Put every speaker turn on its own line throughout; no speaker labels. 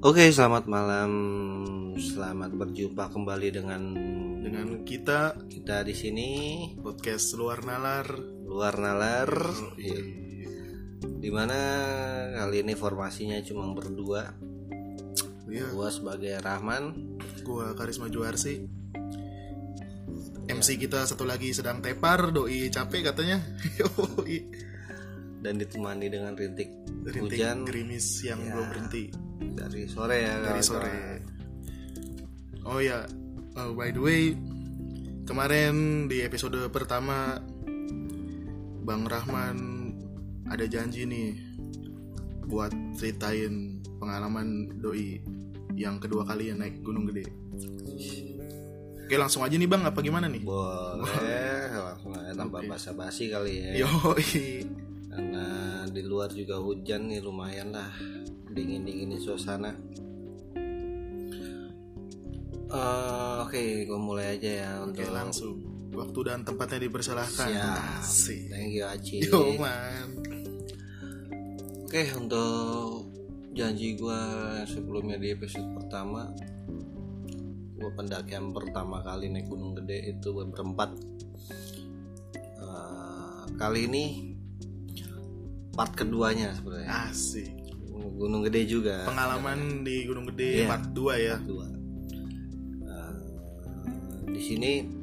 Oke, selamat malam. Selamat berjumpa kembali dengan
dengan kita
kita di sini
podcast luar nalar
luar nalar.
Iya.
Iya. Dimana kali ini formasinya cuma berdua.
Iya,
Gua sebagai Rahman.
gua Karisma Juarsi MC kita satu lagi sedang tepar doi capek katanya Yoi.
dan ditemani dengan rintik,
rintik
hujan
gerimis yang
Ya.
belum berhenti
dari sore ya.
dari
kawan-kawan.
sore. Oh ya, uh, by the way, kemarin di episode pertama Bang Rahman ada janji nih buat ceritain pengalaman doi yang kedua kali naik Gunung Gede. Oke langsung aja nih bang, apa gimana nih?
Boleh langsung aja tanpa
Oke. Iya,
basa-basi kali ya.
Yoi,
Karena di luar juga hujan nih lumayan lah dingin-dinginin suasana. Eh, Oke, gue mulai aja ya
oke
untuk
langsung. Waktu dan tempatnya dipersilahkan.
Siap.
Asik.
Thank you Aci.
Yo man,
Oke, untuk janji gue sebelumnya di episode pertama, gue pendakian pertama kali naik Gunung Gede itu berempat. Eh, kali ini part keduanya sebenarnya.
Ah. asik.
Gunung Gede juga.
Pengalaman di Gunung Gede
Iya.
part 2 ya.
kedua. Eh, di sini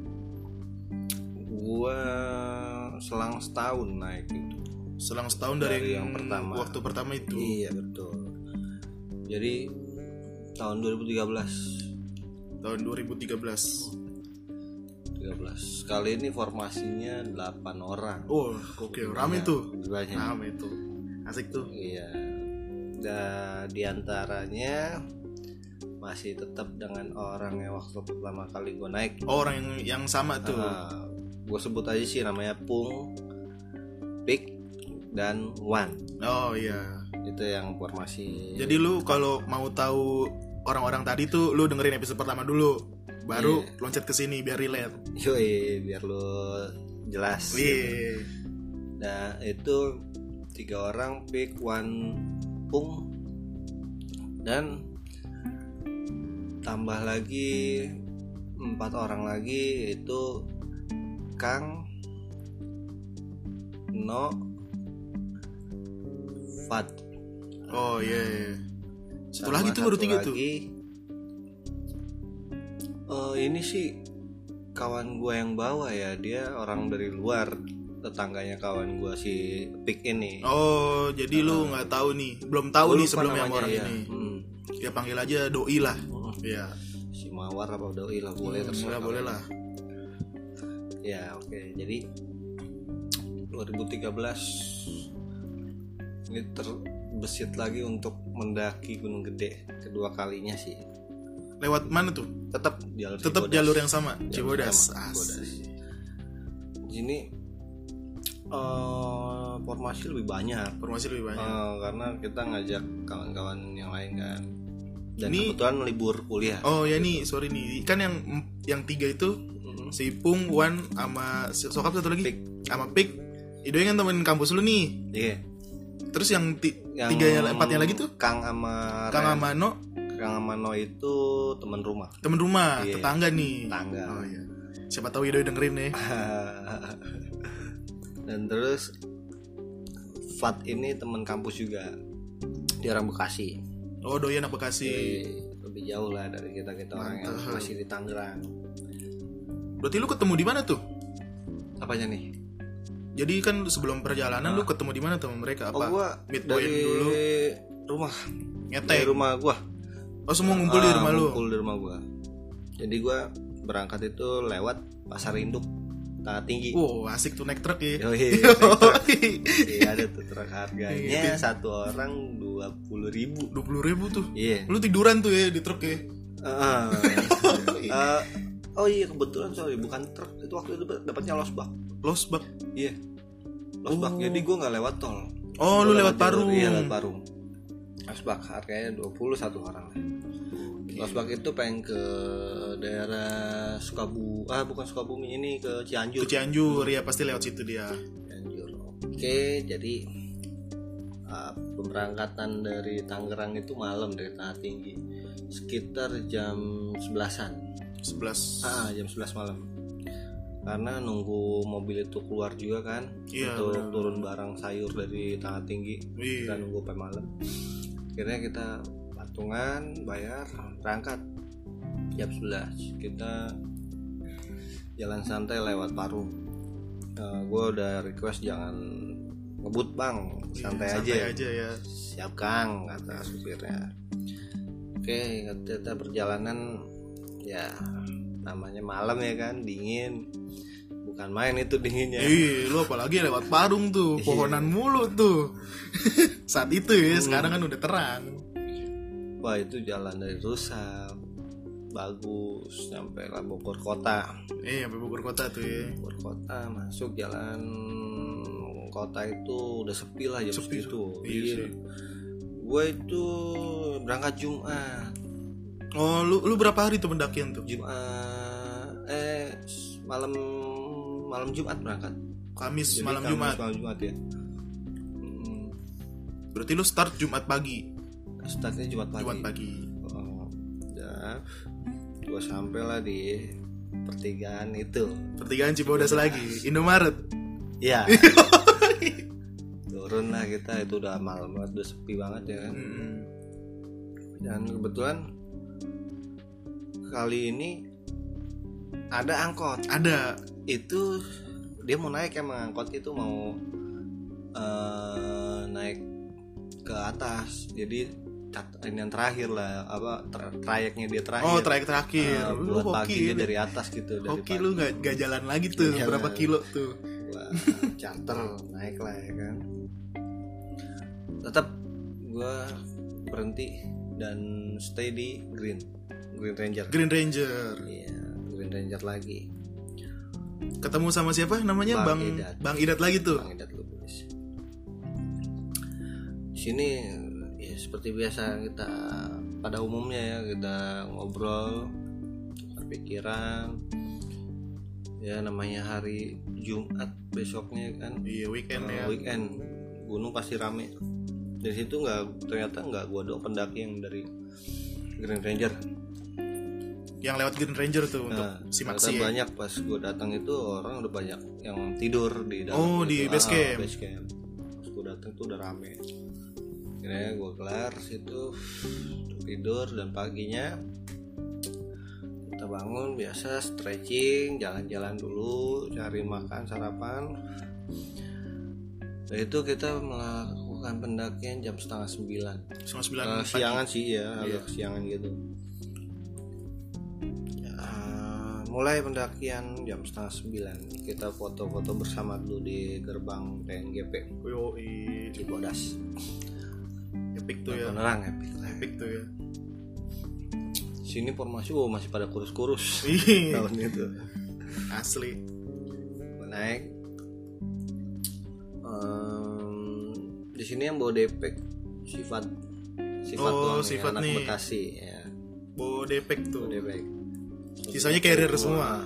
gua selang setahun naik itu.
selang setahun dari,
Dari yang pertama.
waktu pertama itu
Iya betul. Jadi tahun 2013
tahun 2013
13 kali ini formasinya 8 orang.
oh oke rame
Banyak,
tuh Nah.
banyak.
rame tuh asik tuh
Iya. Dan diantaranya masih tetap dengan orang yang waktu pertama kali gue naik
Oh, orang yang, yang sama tuh
Ah. gue sebut aja sih namanya Pung, Pik, dan Wan.
oh iya
Itu yang formasi.
jadi lu kalau mau tahu orang-orang tadi tuh lu dengerin episode pertama dulu baru
Iya.
loncat ke sini biar relate
Yoi, biar lu jelas.
Wih,
Nah itu tiga orang Pik, Wan, Pung, dan tambah lagi empat orang lagi itu Kang, No, Fat.
oh iya iya. satu
Ah. Sama
lagi tuh baru
satu
tiga tuh
lagi. Eh, ini sih kawan gua yang bawa ya dia orang dari luar tetangganya kawan gua si Pik ini
oh jadi lu nggak tahu nih belum tahu
Gua
nih
lupa
sebelum yang
Ah. namanya,
orang
ya.
ini
Hmm.
ya panggil aja doi lah
Hmm.
ya
si Mawar apa Doi lah boleh
Hmm,
terserah
ya, boleh lah
ya oke jadi 2013 ini terbesit lagi untuk mendaki Gunung Gede kedua kalinya sih
lewat mana tuh
tetap jalur
tetap
Cibodas.
jalur yang sama Cibodas
sama, Cibodas.
asik.
Di sini eh, formasi lebih banyak
informasi lebih banyak
Eh, karena kita ngajak kawan-kawan yang lain kan dan
Ini-
kebetulan libur kuliah
oh ya nih sorry nih kan yang yang tiga itu
Mm,
si Pung Wan sama si- sokap satu lagi
Pik.
sama Pik Idoy kan temen kampus lu nih
iya.
terus yang, ti-
Yang
tiga yang empatnya lagi tuh
Kang sama
Kang
Ren-
Amano
Kang sama No itu teman rumah
temen rumah
Iya.
tetangga nih
Tetangga.
oh iya siapa tahu Idoy dengerin ya
dan terus Fat ini teman kampus juga di orang Bekasi
oh Doi anak Bekasi
Jadi, lebih jauh lah dari kita kita orang yang
Mantap.
masih di Tangerang
berarti lu ketemu di mana tuh
apanya nih
jadi kan sebelum perjalanan lu ketemu di mana tuh sama mereka
Ah. oh
apa
gua
Meet
dari
Boyen dulu.
rumah dari
ngetek
rumah gua
oh semua ngumpul di
Ah,
rumah lu
ngumpul di rumah gua jadi gua berangkat itu lewat pasar induk tanah tinggi
wow asik tuh naik truk ya
Yoi, Iya, naik truk.
Yoi.
Iya ada tuh truk
Iya.
harganya satu orang dua puluh ribu.
dua puluh ribu tuh
Iya.
lu tiduran tuh ya di truk ya
Heeh. Eh, Ah, oh iya kebetulan sorry bukan truk itu waktu itu dapatnya losbak.
los bak
Iya. Losbak.
Oh.
Jadi gua nggak lewat tol.
oh lu
Gua
lewat
jalur-
Parung
Iya lewat Parung. Losbak harganya dua puluh satu orang. Losbak itu pengen ke daerah Sukabumi, ah bukan Sukabumi ini ke
ke Iya,
Cianjur.
Cianjur ya pasti lewat situ dia
Cianjur. Oke, jadi uh, pemberangkatan dari Tangerang itu malam dari Tanah Tinggi sekitar jam 11-an
11
ah, jam 11 malam karena nunggu mobil itu keluar juga kan
Iya,
untuk
benar.
turun barang sayur dari Tanah Tinggi
Iya.
kita nunggu sampai malam akhirnya kita patungan bayar berangkat jam 11 kita jalan santai lewat Parung gue udah request jangan ngebut bang Iya, santai, aja.
santai aja ya
siap kang kata supirnya oke kita perjalanan ya namanya malam ya kan dingin bukan main itu dinginnya
Ih, lu apalagi lewat Parung
Iya.
tuh, pohonan mulu tuh. Saat itu
Hmm.
ya, sekarang kan udah terang.
Wah itu jalan dari Rusak Bagus Sampai lah Bogor Kota
Eh, sampai Bogor kota tuh ya.
Bogor Kota masuk jalan Kota itu udah sepi lah jam
Sepi,
segitu
iya
Iya.
sih.
Gue itu berangkat Jumat
Oh, lu lu berapa hari tuh pendakian tuh?
Jumat Eh s- malam malam Jumat berangkat
Kamis
Jadi
malam
Kamis,
Jumat.
Malam Jumat ya Mm,
Berarti lu start Jumat pagi.
Startnya Jumat pagi
Jumat pagi.
Oh, ya Gue sampailah di pertigaan itu
Pertigaan Cibodas lagi, Indomaret.
Iya. Turun lah kita itu udah malam banget, udah sepi banget ya kan.
Mm-mm.
Dan kebetulan kali ini ada angkot.
Ada.
Itu dia mau naik emang angkot itu mau eh, naik ke atas. Jadi tat- ini yang terakhir lah apa tra- trayeknya dia terakhir.
Oh, trayek terakhir.
Eh,
lu
buat paginya
hoki. ya
dari atas gitu dari Iya,
Hoki
pagi.
lu Oh, nggak nggak jalan lagi tuh,
Nggak
berapa
jalan.
kilo tuh?
gua charter naik lah ya kan tetap gua berhenti dan stay di Green Green Ranger
Green Ranger.
iya Green Ranger lagi
Ketemu sama siapa namanya?
Bang
Bang
Idat.
Bang Idat lagi tuh.
Bang Idat Lubis sini ya seperti biasa kita pada umumnya ya kita ngobrol berpikiran ya namanya hari Jumat besoknya kan
Iya, weekend ya.
Uh, weekend gunung pasti rame dari situ nggak ternyata nggak gua doang pendaki yang dari Green Ranger
Yang lewat Green Ranger tuh untuk
Nah,
si
ternyata
Maxi. ya.
banyak pas gua datang itu orang udah banyak yang tidur di dalam
Oh, di
itu. Ah,
base camp.
base camp. pas gua datang tuh udah rame akhirnya gua kelar situ tidur dan paginya kita bangun biasa stretching jalan-jalan dulu cari makan sarapan Nah, itu kita melakukan pendakian jam setengah sembilan
Setengah sembilan
Eh,
pagi.
siangan sih ya
Iya.
agak siangan gitu Ya, mulai pendakian jam setengah sembilan kita foto-foto bersama dulu di gerbang TNGP
Yoi,
Cibodas
epic tuh ya.
penerang epic lah.
Epic tuh ya.
sini formasi wow, masih pada kurus-kurus
Ih,
tahun itu
Asli.
naik Em, di sini yang bawa DP sifat sifat
Oh,
doang ya,
Sifat
anak
nih.
Bekasi ya
Bodepek
Tuh,
tuh.
dia baik.
Sisanya carrier semua.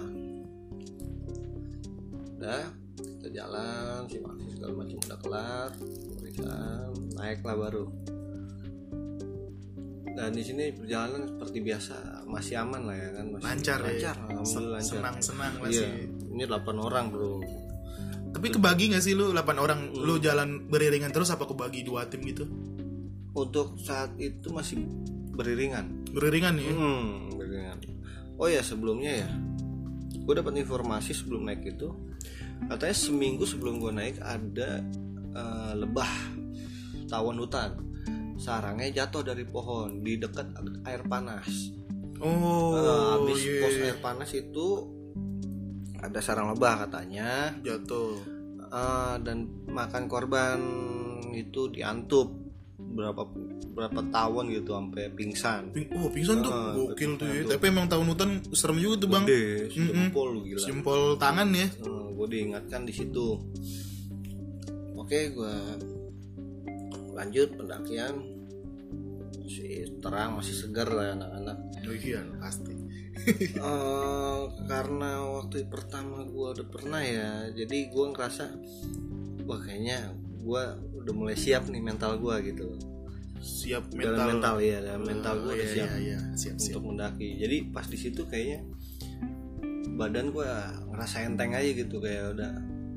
Udah, kita jalan, si Maxi segala macam udah kelar, berikan, naiklah baru. Dan di sini perjalanan seperti biasa masih aman lah ya kan masih
Lancar ya.
lancar, alhamdulillah lancar.
Senang-senang lah
Iya,
sih.
ini 8 orang bro.
Tapi kebagi gak sih lu 8 orang
Hmm.
lu jalan beriringan terus apa kebagi dua tim gitu?
Untuk saat itu masih beriringan.
Beriringan ya.
Hmm, beriringan. Oh ya sebelumnya ya, gue dapat informasi sebelum naik itu, katanya seminggu sebelum gue naik ada eh, lebah tawon hutan, sarangnya jatuh dari pohon di dekat air panas. Eh,
Oh,
habis
iya.
pos air panas itu ada sarang lebah katanya,
jatuh.
eh, dan makan korban itu diantup berapa berapa tawon gitu sampai pingsan.
Ping- oh, pingsan tuh.
Ah,
Gokil tuh ya.
betul.
Tapi emang tahun hutan serem juga tuh, Bang.
Gede,
Mm-mm.
sejempol lu gila.
Simpel tangan ya.
gue Oh, diingatkan di situ oke gue lanjut pendakian masih terang masih segar lah anak-anak
Oh iya, pasti.
Eh, karena waktu pertama gue udah pernah ya jadi gue ngerasa wah kayaknya gue udah mulai siap nih mental gue gitu
siap
dalam
mental
mental ya dalam mental gue
Oh,
udah
iya,
siap
iya, iya. siap siap
untuk mendaki jadi pas di situ kayaknya badan gue ngerasa enteng aja gitu kayak udah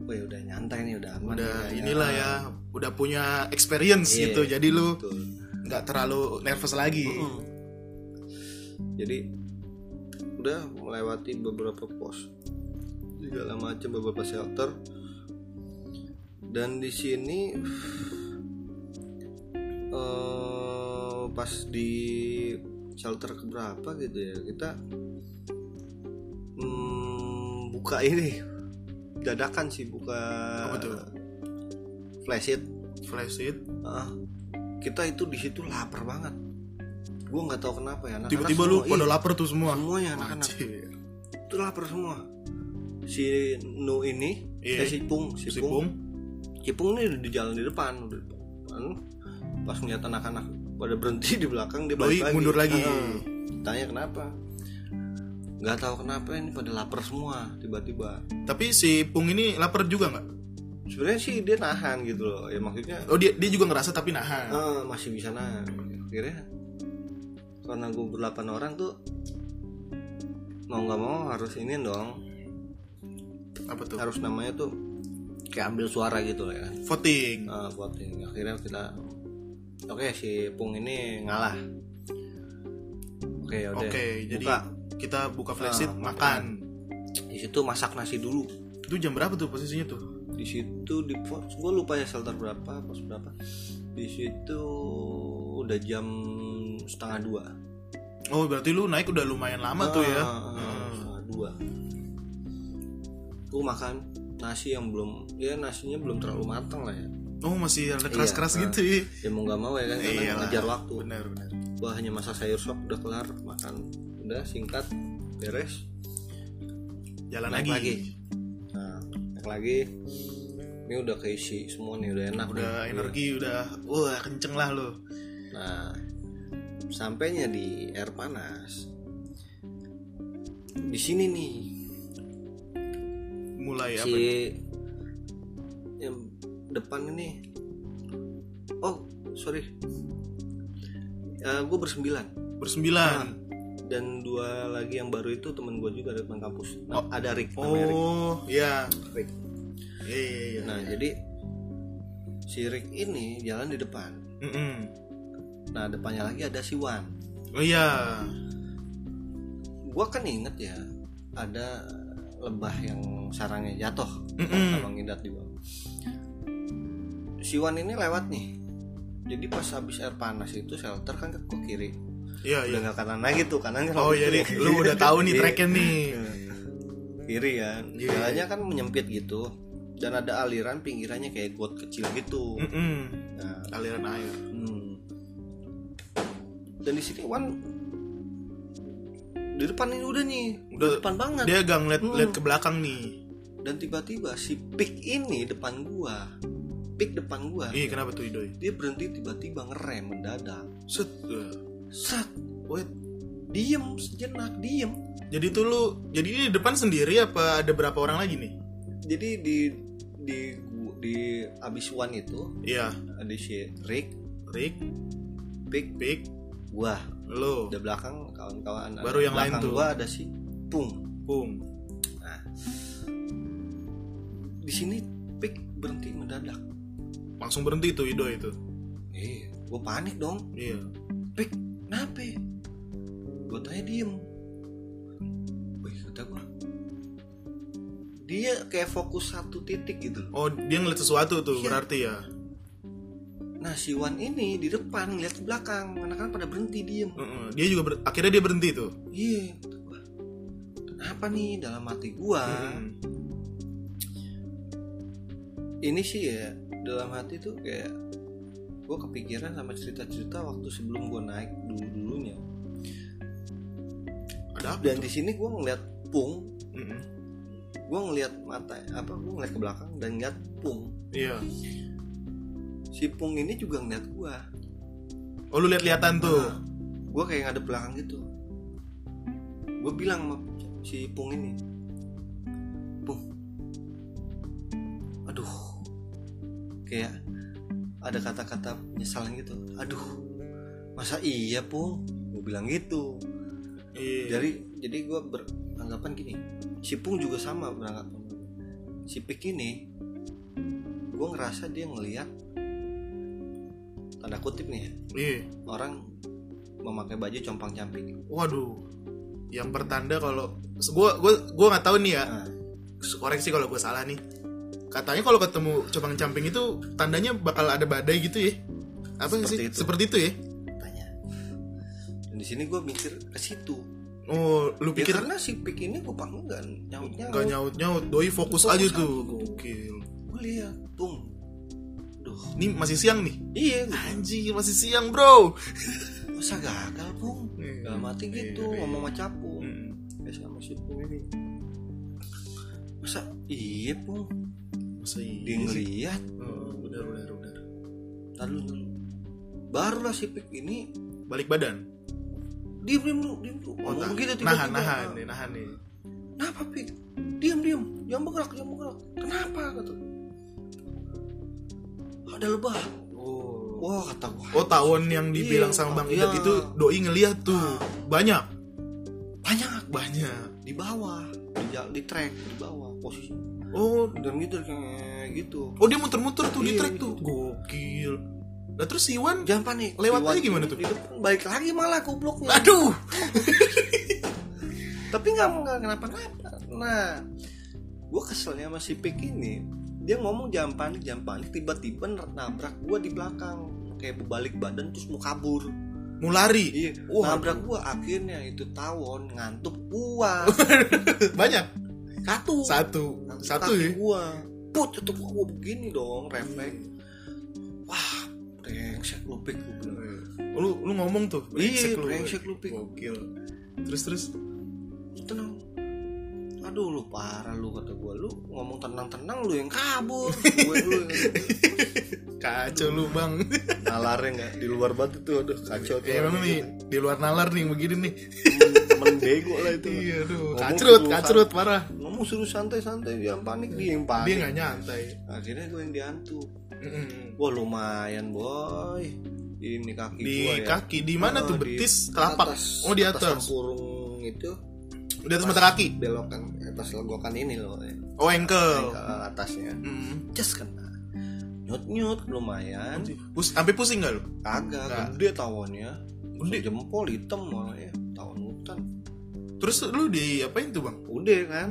gue udah nyantai nih udah aman gitu."
udah
nih,
inilah ya udah punya experience
Ah. Iya,
gitu jadi lu
betul.
nggak terlalu nervous lagi
Mm. jadi udah melewati beberapa pos segala macam beberapa shelter dan di sini eh, pas di shelter keberapa gitu ya kita mm, buka ini dadakan sih buka
Apa tuh?
flashit
flash it
Ah, kita itu di situ lapar banget. Gue nggak tahu kenapa ya. anak-anak
tiba-tiba lu
semua,
pada
iya,
lapar tuh semua
Semuanya anak-anak
Anjir.
itu lapar semua. Si Nu ini, eh,
Iya.
si Pung, si,
si
Pung,
Bung
si Pung ini di jalan di depan, udah di depan. Pas ngeliat anak-anak pada berhenti di belakang dia
doi
balik lagi.
mundur lagi
Ah, tanya kenapa? Nggak tahu kenapa ini pada lapar semua tiba-tiba.
tapi si Pung ini lapar juga nggak
Sebenarnya sih dia nahan gitu loh. Ya maksudnya
oh dia dia juga ngerasa tapi nahan
Eh, masih bisa nahan akhirnya karena gue berdelapan orang tuh mau nggak mau harus ini dong
apa tuh
harus namanya tuh kayak ambil suara gitu lah ya
voting
Eh, voting akhirnya kita oke si Pung ini ngalah oke ya udah
oke jadi
Buka.
kita buka flash it
Ah,
makan
di situ masak nasi dulu
itu jam berapa tuh posisinya tuh
di situ di pos gue lupa ya shelter berapa pos berapa di situ udah jam setengah dua
oh berarti lu naik udah lumayan lama tuh ya
Ah, setengah dua gue makan nasi yang belum ya nasinya belum terlalu matang lah ya
oh masih ada keras keras
Iya,
gitu ya
ya mau nggak mau ya kan karena
Iyalah.
ngejar waktu
benar benar
gue hanya masak sayur sop udah kelar makan udah singkat beres
jalan
naik
lagi.
lagi nah naik lagi ini udah keisi semua nih udah enak
udah
nih.
energi udah wah kenceng lah lo
Nah, sampainya di air panas. Di sini nih
mulai
si
apa
yang depan ini. Oh, sorry. gue bersembilan
bersembilan
dan dua lagi yang baru itu temen gue juga dari teman kampus. Nah, ada Rick namanya Rick.
oh ya
Rick.
iya iya iya
Nah, jadi si Rick ini jalan di depan.
Mm-mm.
Nah, depannya lagi ada si Wan.
oh iya
gua kan inget ya ada lebah yang sarangnya jatuh
Mm-mm.
sama ngidat di bawah si Wan ini lewat nih jadi pas habis air panas itu shelter kan ke ke kiri
iya iya
udah nggak kanan lagi tuh kanan kan
oh
waktu
jadi
itu.
lu udah tahu nih
Iya.
tracknya nih
kiri kan
Iya.
jalannya kan menyempit gitu dan ada aliran pinggirannya kayak got kecil gitu
Mm-mm.
nah
aliran air
Hmm. Dan di sini Wan di depan ini udah nih, udah
Udah-
depan banget.
dia gak ngeliat
Hmm.
liat ke belakang nih
Dan tiba-tiba si pik ini depan gua, pik depan gua,
ih kenapa tuh doi
dia berhenti tiba-tiba ngerem mendadak.
set Wah.
Sat, wait, diem sejenak diem.
jadi tuh lu jadi ini depan sendiri apa ada berapa orang lagi nih
Jadi di di gu- di abis Wan itu
iya
ada si Rick,
Rick
pik,
Pick
gua,
lo
udah belakang kawan-kawan.
Baru yang
Belakang
lain tuh.
Gua ada si Pung.
Pung
di sini pik berhenti mendadak
langsung berhenti tuh Ido itu
eh gue panik dong
iya
pik kenapa gue tanya diem wih kata gue dia kayak fokus satu titik gitu
oh dia ngeliat sesuatu tuh
Iya.
berarti ya
nah si Wan ini di depan ngeliat ke belakang karena kan pada berhenti diem
Mm-mm. dia juga ber- akhirnya dia berhenti tuh
iya kata gua. kenapa nih dalam hati gua
Mm-mm.
ini sih ya dalam hati tuh kayak gue kepikiran sama cerita-cerita waktu sebelum gue naik dulu dulunya
ada apa
dan di sini gue ngeliat pung
Mm-mm.
gue ngeliat mata apa gue ngeliat ke belakang dan ngeliat pung
iya
si pung ini juga ngeliat gue
oh lu lihat-lihatan
Ah.
tuh
gue kayak ngadep belakang gitu gue bilang sama si pung ini pung aduh kayak ada kata-kata penyesalan gitu aduh masa iya pung gue bilang gitu
Iya.
jadi jadi gue beranggapan gini si Pung juga sama beranggapan si Pik ini gue ngerasa dia ngelihat tanda kutip nih ya,
Iya.
orang memakai baju compang camping
Waduh. Yang pertanda kalau gue gue gue nggak tahu nih ya.
nah,
Koreksi kalau gue salah nih. Katanya kalau ketemu cobang camping itu tandanya bakal ada badai gitu ya. Apa
Seperti
sih?
itu.
Seperti itu ya.
tanya dan di sini gue mikir ke situ
Oh, lu
ya,
pikir
karena si Pik ini gue panggung nggak nyaut
nggak
nyaut
nyaut nyaut doi fokus,
Fokus
aja
aja.
tuh gokil
gue lihat Pung duh
ini masih siang nih
iya gua,
anjir masih siang bro
masa gagal Pung dalam hati gitu
Iya, iya.
ngomong sama Capu
Hmm,
ya sama si Pung ini masa iya Pung
masa
dia
iya sih?
ngeliat
Oh, benar benar benar
Ntar dulu, ntar dulu. barulah si Pik ini
balik badan
diem diem lu diem lu ngomong gitu, begitu
nah, nahan nahan nih nahan nih
kenapa Pik diem diem jangan bergerak jangan bergerak kenapa kata ada lebah
oh
wah kata gua
oh tawon yang dibilang
Iya,
sama bang
iya.
Idat itu doi ngeliat tuh banyak
banyak
banyak
di bawah di, jal- di track di bawah posisi
oh
dan gitu kayak gitu
oh dia muter-muter tuh di
Iya,
trek
gitu.
tuh gokil nah terus si Iwan
jangan panik
Lewat
Iwan
aja gimana tuh?
itu pun balik lagi malah gobloknya
aduh
tapi nggak nggak kenapa-napa nah gue keselnya sama si Pik ini dia ngomong jam panik jam panik tiba-tiba ner- nabrak gue di belakang kayak balik badan terus mau kabur
mau lari
iya
Wah.
nabrak gue akhirnya itu tawon ngantuk gua
banyak
satu
satu
Ngantuk
satu
kaki
ya
gua put itu gua, gua begini dong refleks wah brengsek lu Pik gua bilang.
Gitu. lu lu ngomong tuh
iya brengsek lu Pik
gokil terus terus
Lu tenang aduh lu parah lu kata gue lu ngomong tenang-tenang lu yang kabur gue lu
kacau lu bang
nalarnya nggak di luar batu tuh aduh kacau tuh
ya emang nih di luar nalar nih begini nih
temen bego lah itu
iya aduh
Ngomong
kacrut
keburukan.
kacrut parah
ngomong suruh santai-santai dia panik dia yang
dia
panik
nggak nyantai
akhirnya gue yang diantuk wah lumayan boy ini kaki
di
gua ya
kaki di mana
Oh,
tuh
di
betis telapak
atas,
oh di atas
kurung itu
di atas mata kaki
belokan atas legokan ini loh ya.
oh ankle
ke atasnya
Mm.
just kena nyut nyut lumayan
Pus, sampai pusing gak lu?
Kagak,
Nggak.
gede tawonnya.
Nah. Gede.
Jempol hitam warnanya, tawon hutan.
Terus lu di apain tuh bang?
Udah kan.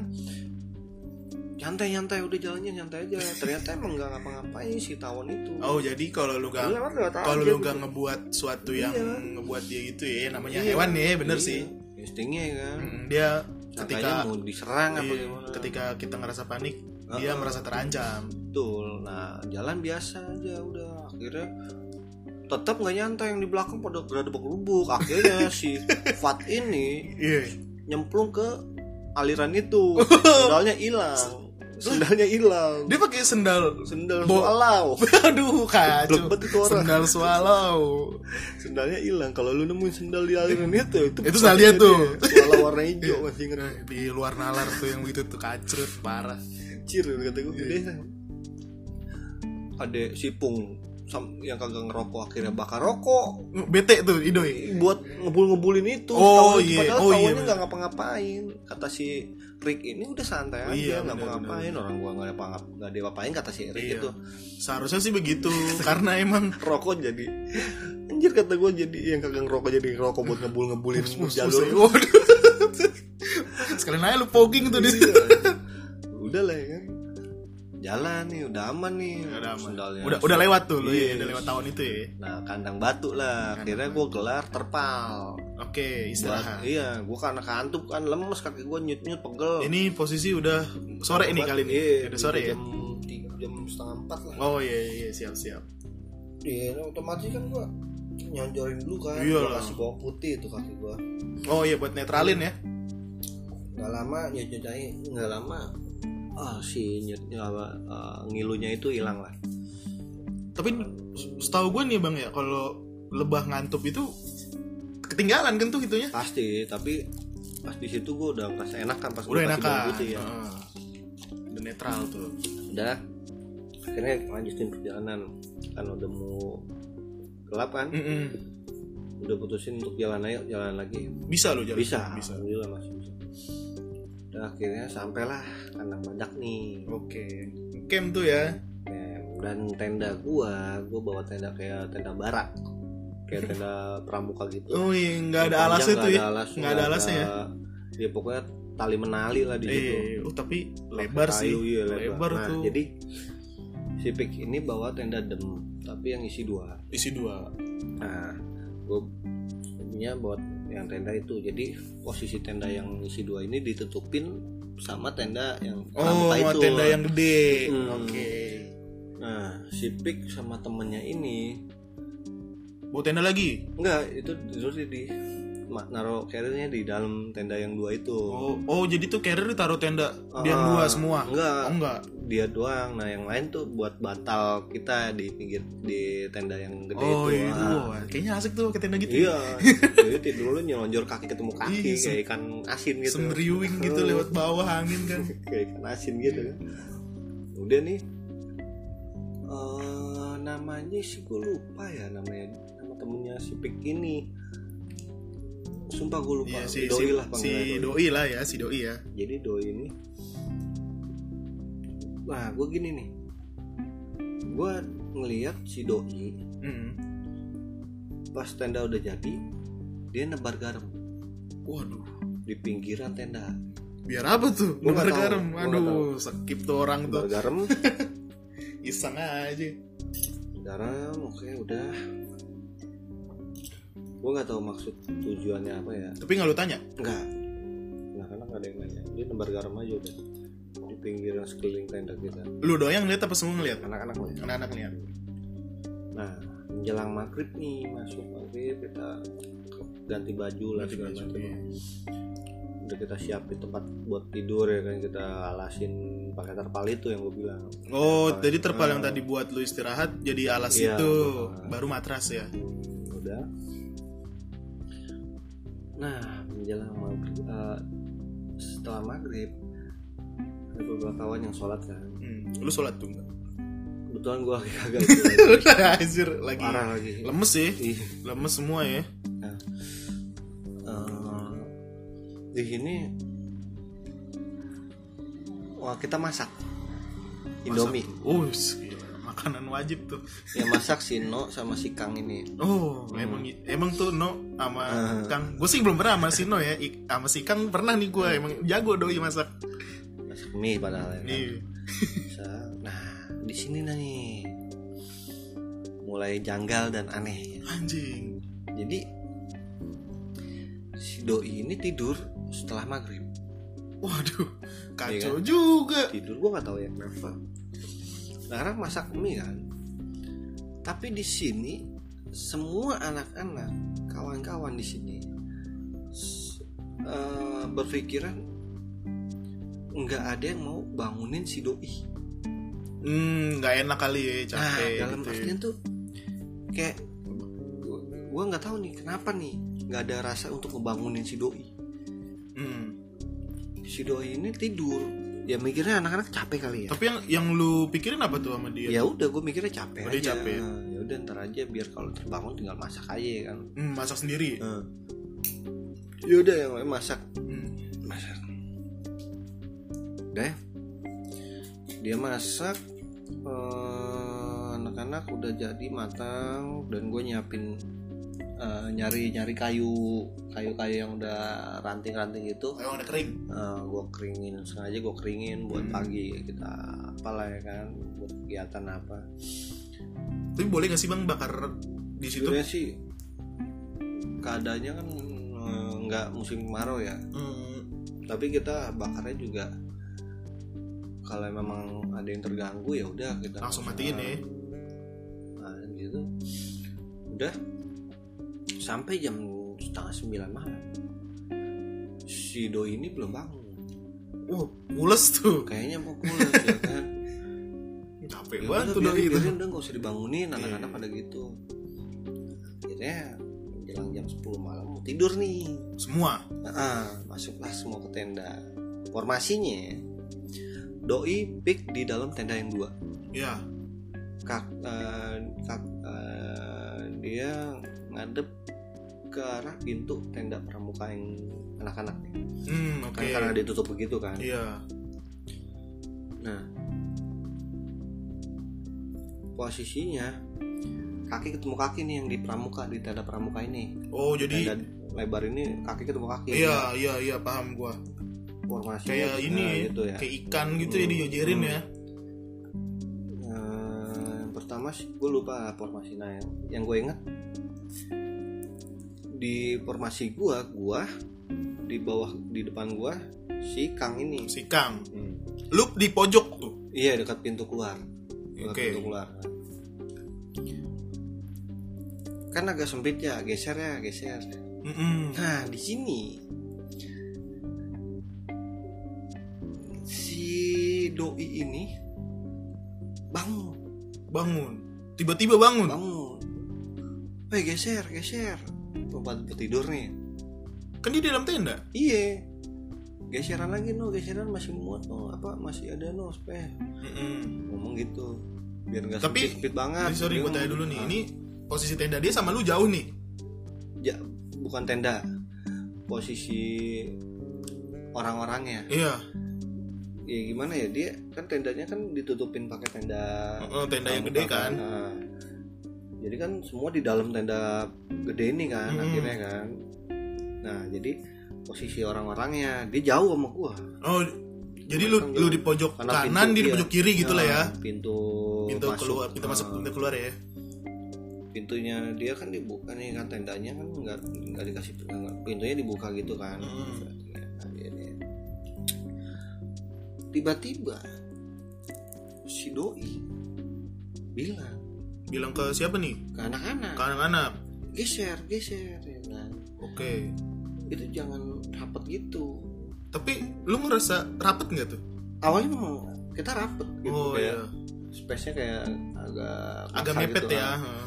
Nyantai-nyantai udah jalannya nyantai aja. Ternyata emang nggak ngapa-ngapain si tawon itu.
Oh jadi kalau
Lu
lu gak
lewat lewat aja
kalau lu
gitu.
gak ngebuat suatu yang
Iya.
ngebuat dia gitu ya namanya
Iya.
hewan ya bener
Iya.
sih.
Instingnya kan.
Mm, Dia
Ketika
ketika
mau diserang apa
Iya,
gimana.
ketika kita ngerasa panik
Ah,
dia
ah.
merasa terancam
Betul. Nah, jalan biasa aja udah akhirnya tetap nggak nyantai yang di belakang pada gerabak lubuk akhirnya si Fat ini
iya
nyemplung ke aliran itu sendalnya hilang sendalnya hilang
dia pakai sendal
sendal
Bo-
swallow
aduh kacau
Blebet itu orang.
sendal swallow
sendalnya hilang kalau lu nemuin sendal di aliran itu itu
Itu sendal dia tuh.
swallow warna hijau masih inget
Nah, di luar nalar tuh yang gitu tuh kacrut parah
cir gitu, kata gue
Iya.
gede ada si pung sam- yang kagak ngerokok akhirnya bakar rokok
bete tuh idoi
buat ngebul ngebulin itu Setahun
Oh,
itu,
iya.
padahal
Oh, iya,
tahunnya
bener.
nggak ngapa-ngapain kata si Rick ini udah santai aja
Iya,
nggak
bener,
ngapa-ngapain orang gua nggak ngapa- nggak ada apa-apain kata si Rick
Iya.
itu
seharusnya sih begitu karena emang
rokok jadi anjir kata gue jadi yang kagak ngerokok jadi ngerokok buat ngebul ngebulin jalur
Waduh. sekalian aja lu poking tuh di situ
Iya, udah lah ya kan jalan nih udah aman nih
udah, aman.
sendalnya
udah udah lewat tuh lu ya
Iya.
udah lewat tahun itu ya
nah kandang batu lah akhirnya gue gelar terpal
oke
Buat-
istirahat
iya gue karena kantuk kan lemes kaki gue nyut nyut pegel
ini posisi udah sore ini
Obat,
kali ini
iya,
udah sore ya
jam tiga jam setengah empat lah
oh iya iya siap siap
iya otomatis kan gue nyonjorin dulu kan
Iya
Gua
lah.
kasih bawang putih itu kaki gue
oh iya buat netralin ya
nggak lama nyut nyutnya nggak lama ah si nyut apa, eh, ngilunya itu hilang lah
tapi setahu gue nih bang ya kalau lebah ngantuk itu ketinggalan kan tuh gitunya
pasti tapi pas di situ gue udah ngerasa enak kan pas gua
udah
kasih
enakan
bawang putih ya
Heeh. udah netral tuh
udah akhirnya lanjutin perjalanan kan udah mau gelap kan
Mm-mm.
udah putusin untuk jalan ayo jalan lagi
Bisa lo Hmm. jalan.
bisa
Bisa.
alhamdulillah masih bisa dan akhirnya sampailah kandang badak nih
Oke. Camp tuh ya.
Em, dan tenda gua gua bawa tenda kayak tenda barak kayak tenda pramuka gitu
Oh iya, nggak ada alasnya tuh
Panjang, nggak
ya.
ada alasnya
Nggak ada alasnya ya?
ya pokoknya tali menali lah di situ
Eh, oh, tapi lebar
Kayu,
sih.
gitu. iya, lebar,
Lebar
Nah,
tuh.
jadi si Pik ini bawa tenda dem tapi yang isi dua
Isi dua.
nah gue punya buat yang tenda itu jadi posisi tenda yang isi dua ini ditutupin sama tenda yang
Oh,
pramuka Ah, itu
tenda yang gede.
Hmm.
Oke.
nah si Pik sama temennya ini
Bawa tenda lagi.
enggak itu tidur di, di ma- naruh carrier-nya di dalam tenda yang dua itu
Oh, oh jadi tuh carrier ditaruh tenda biar
Ah,
dua semua.
enggak
Oh, enggak.
dia doang nah yang lain tuh buat batal kita di pinggir di tenda yang gede
Oh
itu
iya,
Ah,
wah, kayaknya asik tuh ke tenda gitu.
iya jadi tidur lu nyelonjor kaki ketemu kaki
Iya,
kayak ikan asin gitu
Semriwing gitu
Oh.
lewat bawah angin kan.
kayak ikan asin gitu kan udah nih eh namanya sih gue lupa ya namanya nama temennya si Pik ini sumpah gue lupa
Iya si,
doi
si,
lah
si
panggilannya doi.
doi lah ya, si doi ya.
jadi doi ini nah gue gini nih gue ngeliat si doi
Mm.
pas tenda udah jadi dia nebar garam
Waduh,
di pinggiran tenda
biar apa tuh?
Gua nggak
Nebar
tahu,
garam.
gua nggak
Aduh, skip tuh orang
nebar
tuh.
garam
Iseng aja.
garam oke udah gue nggak tahu maksud tujuannya apa ya
Tapi nggak lu tanya.
enggak nah karena nggak ada yang nanya dia nebar garam aja udah di pinggiran sekeliling tenda kita
Lu doang ngeliat apa semua ngeliat?
anak-anak lah ya.
Anak-anak ngeliat.
nah menjelang maghrib nih masuk maghrib kita ganti baju lah
Ganti
segala
baju,
macam.
iya.
udah kita siapin tempat buat tidur ya kan kita alasin pakai terpal itu yang gue bilang
Oh,
Terpal.
jadi terpal yang
Ah.
tadi buat lu istirahat jadi alas
Iya,
itu,
betul.
baru matras ya.
Hmm, udah nah menjelang maghrib eh, setelah maghrib ada beberapa kawan yang sholat kan
Hmm. Lu sholat tuh nggak?
kebetulan gue agak
Anjir, lagi
parah lagi
lemes ya,
Ih,
lemes semua ya.
eh, di sini wah kita masak Indomie
Masak. Oh, gila. makanan wajib tuh.
yang masak si No sama si Kang ini
Oh,
Hmm.
emang emang tuh No sama
Ah.
Kang. Gue sih belum pernah sama si No ya. I- Sama si Kang pernah
Ah.
nih gue emang jago doi masak.
masak mie padahal ya kan.
Nih.
Sa- Nah, di sini lah nih mulai janggal dan aneh. ya.
Anjing.
Jadi si doi ini tidur setelah maghrib.
Waduh,
Iya
kacau juga.
Tidur gua nggak tahu ya kenapa. Nah, karena masak mie kan. Tapi di sini semua anak-anak, kawan-kawan di sini s- eh, berpikiran nggak ada yang mau bangunin si doi.
Hmm, nggak enak kali ya,
Nah,
capek.
dalam
gitu ya.
artian tuh kayak gua- gua nggak tahu nih kenapa nih nggak ada rasa untuk ngebangunin si doi.
Hmm.
Si doi ini tidur. Ya mikirnya anak-anak capek kali ya.
Tapi yang yang lu pikirin apa tuh sama dia?
Ya udah gue mikirnya capek
Oh, dia
aja.
capek ya?
Nah, Ya udah ntar aja biar kalau terbangun tinggal masak aja ya kan.
Hmm, masak sendiri.
Ya udah yang lain masak.
Hmm.
Masak. Udah ya. Dia masak eh, anak-anak udah jadi matang dan gue nyiapin eh, nyari-nyari kayu kayu-kayu yang udah ranting-ranting gitu
Emang udah kering.
Eh, gue keringin sengaja gue keringin buat
Hmm.
pagi kita apalah ya kan buat kegiatan apa
Tapi boleh gak sih bang bakar di situ?
sebenarnya sih keadaannya kan eh, nggak musim kemarau ya
Hmm.
tapi kita bakarnya juga kalau memang ada yang terganggu ya udah kita
Langsung matiin ya.
nah, gitu udah sampai jam setengah sembilan malam si doi ini belum bangun
Wah, mules tuh.
kayaknya mau pulang ya kan
Capek
Ya
banget
udah,
tuh doi
biarin,
itu.
biarin, udah nggak usah dibangunin
gitu. Iya.
anak-anak pada gitu akhirnya menjelang jam 10 malam mau tidur nih
Semua.
Ah, masuklah semua ke tenda formasinya doi pik di dalam tenda yang dua
Ya.
kak, eh, kak- eh, dia ngadep ke arah pintu tenda pramuka yang anak-anak nih.
hmm oke
Kan karena ditutup begitu kan
iya
nah posisinya kaki ketemu kaki nih yang di pramuka di tenda pramuka ini
oh jadi
tenda lebar ini kaki ketemu kaki ya.
iya iya iya paham gua
formasi
kayak ini ya,
gitu ya
kayak ikan gitu ya
Hmm.
dijejerin
Hmm.
ya
Eh, yang pertama sih gue lupa formasi nah yang, yang gue inget di formasi gue gue di bawah di depan gue si Kang ini
si Kang lu di pojok tuh
iya dekat pintu keluar
oke
Dekat pintu keluar kan agak sempit ya geser ya geser
Mm-mm.
nah di sini si doi ini bangun
bangun tiba-tiba bangun
bangun Weh geser geser Tempat tidur nih
kan dia di dalam tenda
Iya Geseran lagi no Geseran masih muat no Apa masih ada no speh
Mm-mm.
Ngomong gitu Biar gak
Tapi-
sempit-sempit banget Iya.
Ini Nah, sorry
Dia
gue tanya dulu nih
ngomong,
ini posisi tenda dia sama lu jauh nih
"Ah, ja- Bukan tenda Posisi Orang-orangnya
iya
Ya gimana ya Dia kan tendanya kan ditutupin pakai tenda Ah.
Oh, tenda yang gede kan
Nah, jadi kan semua di dalam tenda gede ini kan
Mm-mm.
akhirnya kan. Nah jadi posisi orang-orangnya dia jauh sama gua.
oh jadi lu lu di
Iya.
pojok
Karena
kanan
pintu,
dia di
iya.
pojok kiri gitu lah ya
Nah, Pintu
pintu
masuk,
keluar pintu masuk
nah,
pintu keluar ya
pintunya dia kan dibuka nih kan tendanya kan nggak nggak dikasih nggak- pintunya dibuka gitu kan.
Mm.
Nah, dia nih. Tiba-tiba si doi bilang
bilang ke siapa nih
ke anak-anak
ke anak-anak
geser geser ya kan.
oke
itu jangan rapet gitu
tapi lu ngerasa rapet nggak tuh
awalnya memang kita rapet gitu
oh
kayak
iya
space-nya kayak agak
agak
kasar
mepet
gitu
ya
kan.
Heeh.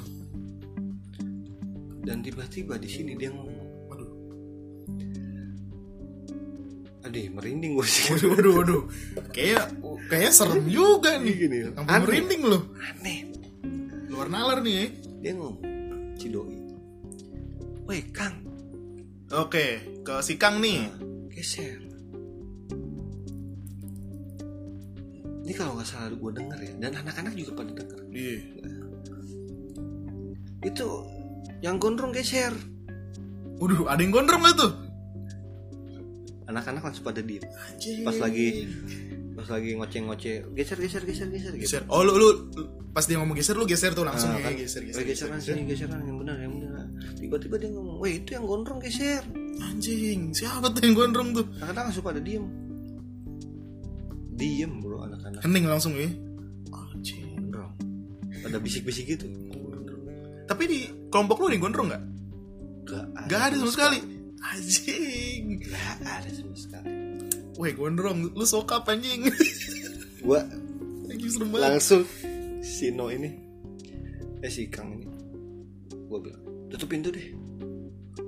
dan tiba-tiba di sini dia ngomong
Waduh.
Aduh, merinding gue sih
waduh waduh waduh kayak kayak serem juga
Ini
nih
gini
Sampai
aneh,
merinding lu
aneh
luar nalar nih ya.
dia ngomong cidoi weh kang
oke ke si Kang nih
geser ini kalau nggak salah gue denger ya dan anak-anak juga pada denger
Iya.
itu yang gondrong geser
waduh ada yang gondrong nggak tuh
anak-anak langsung pada diem Pas lagi- pas lagi ngoceh-ngoceh geser geser geser geser gitu
geser oh lu, lu lu- pas dia ngomong geser lu geser tuh langsung
Ah, kan.
ya geser
Weh,
geser
geseran sini geseran yang benar yang benar tiba-tiba dia ngomong weh itu yang gondrong geser
anjing siapa tuh yang gondrong tuh
anak-anak langsung pada diem diem bro anak-anak
hening langsung ya anjing
gondrong pada bisik-bisik gitu
tapi di kelompok lu ada yang gondrong nggak
gak ada,
Gak ada sama sekali anjing
gak ada sama sekali
weh gondrong lu sokap anjing
gua
lagi serem banget
langsung Sino ini eh si Kang ini gua bilang tutup pintu deh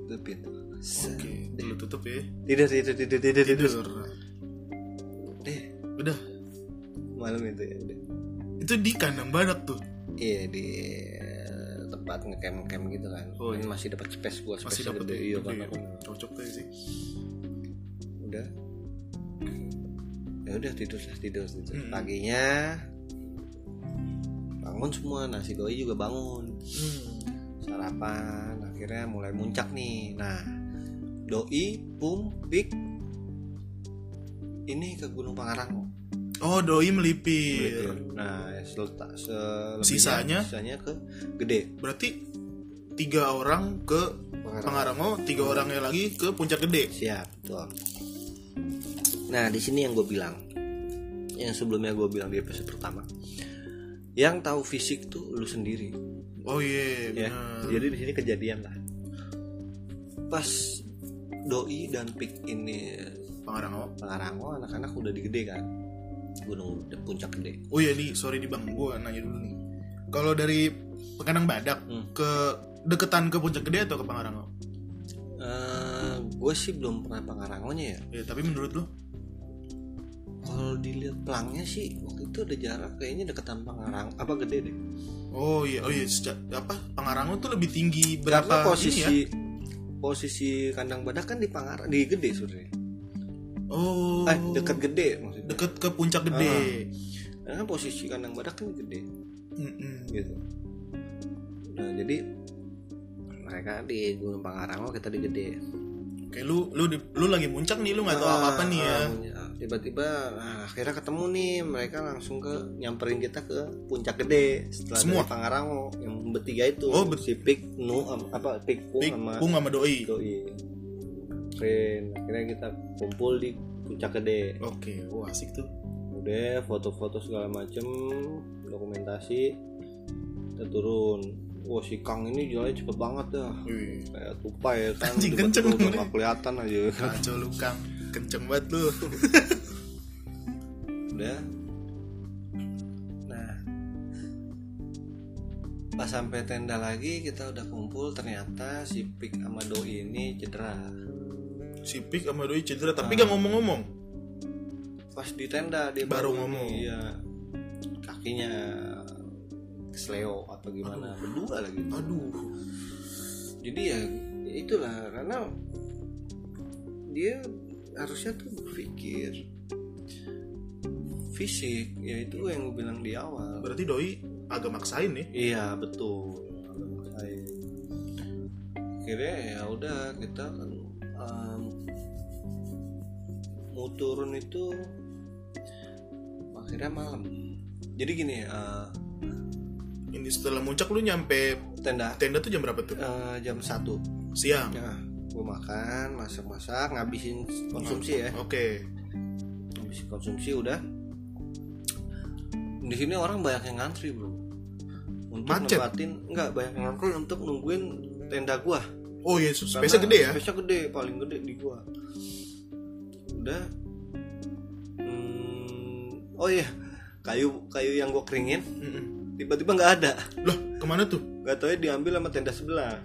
tutup pintu Set.
oke lu tutup ya
tidur tidur tidur tidur tidur
tidur
deh
udah
malam itu ya udah
itu di kandang badak tuh
iya di eh, tempat ngecamp camp gitu kan
Oh,
Ini
iya.
masih dapat space gua space
masih dapet
gede
ya,
iya
gede.
karena kan
cocok tuh sih
udah ya udah tidur lah tidur tidur
Mm-mm.
paginya bangun semua nasi doi juga bangun sarapan akhirnya mulai muncak nih nah doi pum pik ini ke Gunung Pangarang
oh doi melipir
nah seletak selebihnya-
Iya. Sisanya?
sisanya ke gede
berarti tiga orang ke Pangarango tiga orangnya lagi ke puncak gede
Siap, betul. Nah, di sini yang gue bilang, yang sebelumnya gue bilang di episode pertama, yang tahu fisik tuh lu sendiri.
oh iya
Ya.
benar
Jadi di sini kejadian lah. Pas doi dan pik ini
Pangarango
Pangarango anak-anak udah di gede kan, gunung udah puncak gede.
oh iya nih sorry di bang gue nanya dulu nih kalau dari kandang badak
Hmm.
ke deketan ke puncak gede atau ke Pangarango
Eh, gue sih belum pernah Pangarangonya ya.
Iya, ya tapi menurut lo
Kalau kalau dilihat pelangnya sih waktu itu ada jarak kayaknya deketan Tangerang apa gede deh
Oh iya, oh iya, Seja- apa Pangarang tuh lebih tinggi
karena
berapa ini ya?
posisi posisi kandang badak kan di Pangarang di gede sebenarnya
Oh,
eh Ah. dekat gede maksudnya
deket ke puncak gede.
karena posisi kandang badak kan gede
Mm-mm.
gitu nah jadi mereka di Gunung Pangarang oh, kita di gede
Oke, lu lu di- lu lagi muncak nih, lu nggak tahu apa apa nih ya?
Ah, tiba-tiba nah, akhirnya ketemu nih mereka langsung ke nyamperin kita ke puncak gede setelah
Semua?
dari Pangarangmo yang bertiga itu
Oh, bet-
si Pik Nu am- apa Pik Pung
Pik,
sama
Pung sama Doi. Oke,
Doi. keren akhirnya kita kumpul di puncak gede
wah asik tuh.
udah foto-foto segala macem dokumentasi kita turun wah si Kang ini jalannya cepet banget dah
Wih,
kayak tupai ya kan
Anjing kenceng
tiba-tiba udah
bener.
nggak kelihatan aja
kacau lu Kang, kenceng banget lu.
udah nah pas sampai tenda lagi kita udah kumpul ternyata si Pik sama Doi ini cedera
Si Pik sama Doi cedera, tapi
Ah.
gak ngomong-ngomong.
pas di tenda dia
Baru
ini,
ngomong.
iya kakinya kesleo atau gimana berdua lagi
Aduh,
jadi ya itulah karena dia harusnya tuh berpikir fisik yaitu yang gue bilang di awal
berarti Doi agak maksain nih.
Iya betul. Maksain. Akhirnya ya udah kita kan em, mau turun itu akhirnya malam. Jadi gini eh,
Ini setelah muncak lu nyampe
tenda
tenda tuh jam berapa tuh?
eh, jam 1
Siang.
Nah, gue makan masak-masak ngabisin konsumsi ya.
Oke.
Ngabisin konsumsi udah. Di sini orang banyak yang ngantri bro. Untuk
Macet?
nempatin enggak banyak yang ngantri untuk nungguin tenda gua.
Oh iya, space
Karena
gede ya.
space-nya gede, paling gede di gua. Udah. Hmm, oh iya, kayu kayu yang gua keringin
Mm-mm.
tiba-tiba nggak ada.
Loh, kemana tuh?
Gak tau diambil sama tenda sebelah.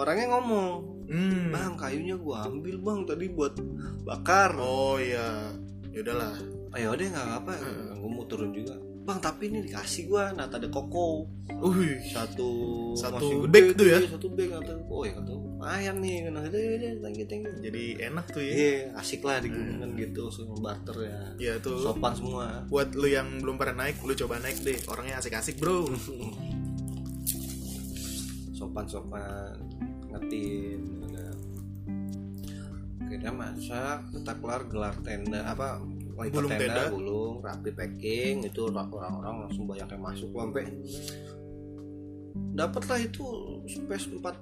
Orangnya ngomong,
Hmm.
bang kayunya gua ambil bang tadi buat bakar.
Oh iya, ya udahlah.
Ayo deh Oh, nggak apa-apa, gua mau turun juga. Bang tapi ini dikasih gua nata ada koko
Wih,
satu
Satu
masih gede
bag tuh ya?
iya, satu bag atau oh ya kata lumayan nih kena gede gede Iya, thank you thank you
jadi enak tuh ya.
Iya, asik lah di gunungan gitu, semua barter ya.
Ya tuh.
Sopan semua.
Buat lu yang belum pernah naik, lu coba naik deh. Orangnya asik-asik, Bro.
Sopan-sopan ngetin ada. Kita masak, kita kelar gelar tenda apa wiper
Gulung tenda.
gulung, rapi packing itu orang-orang langsung banyak yang masuk sampai dapatlah itu space empat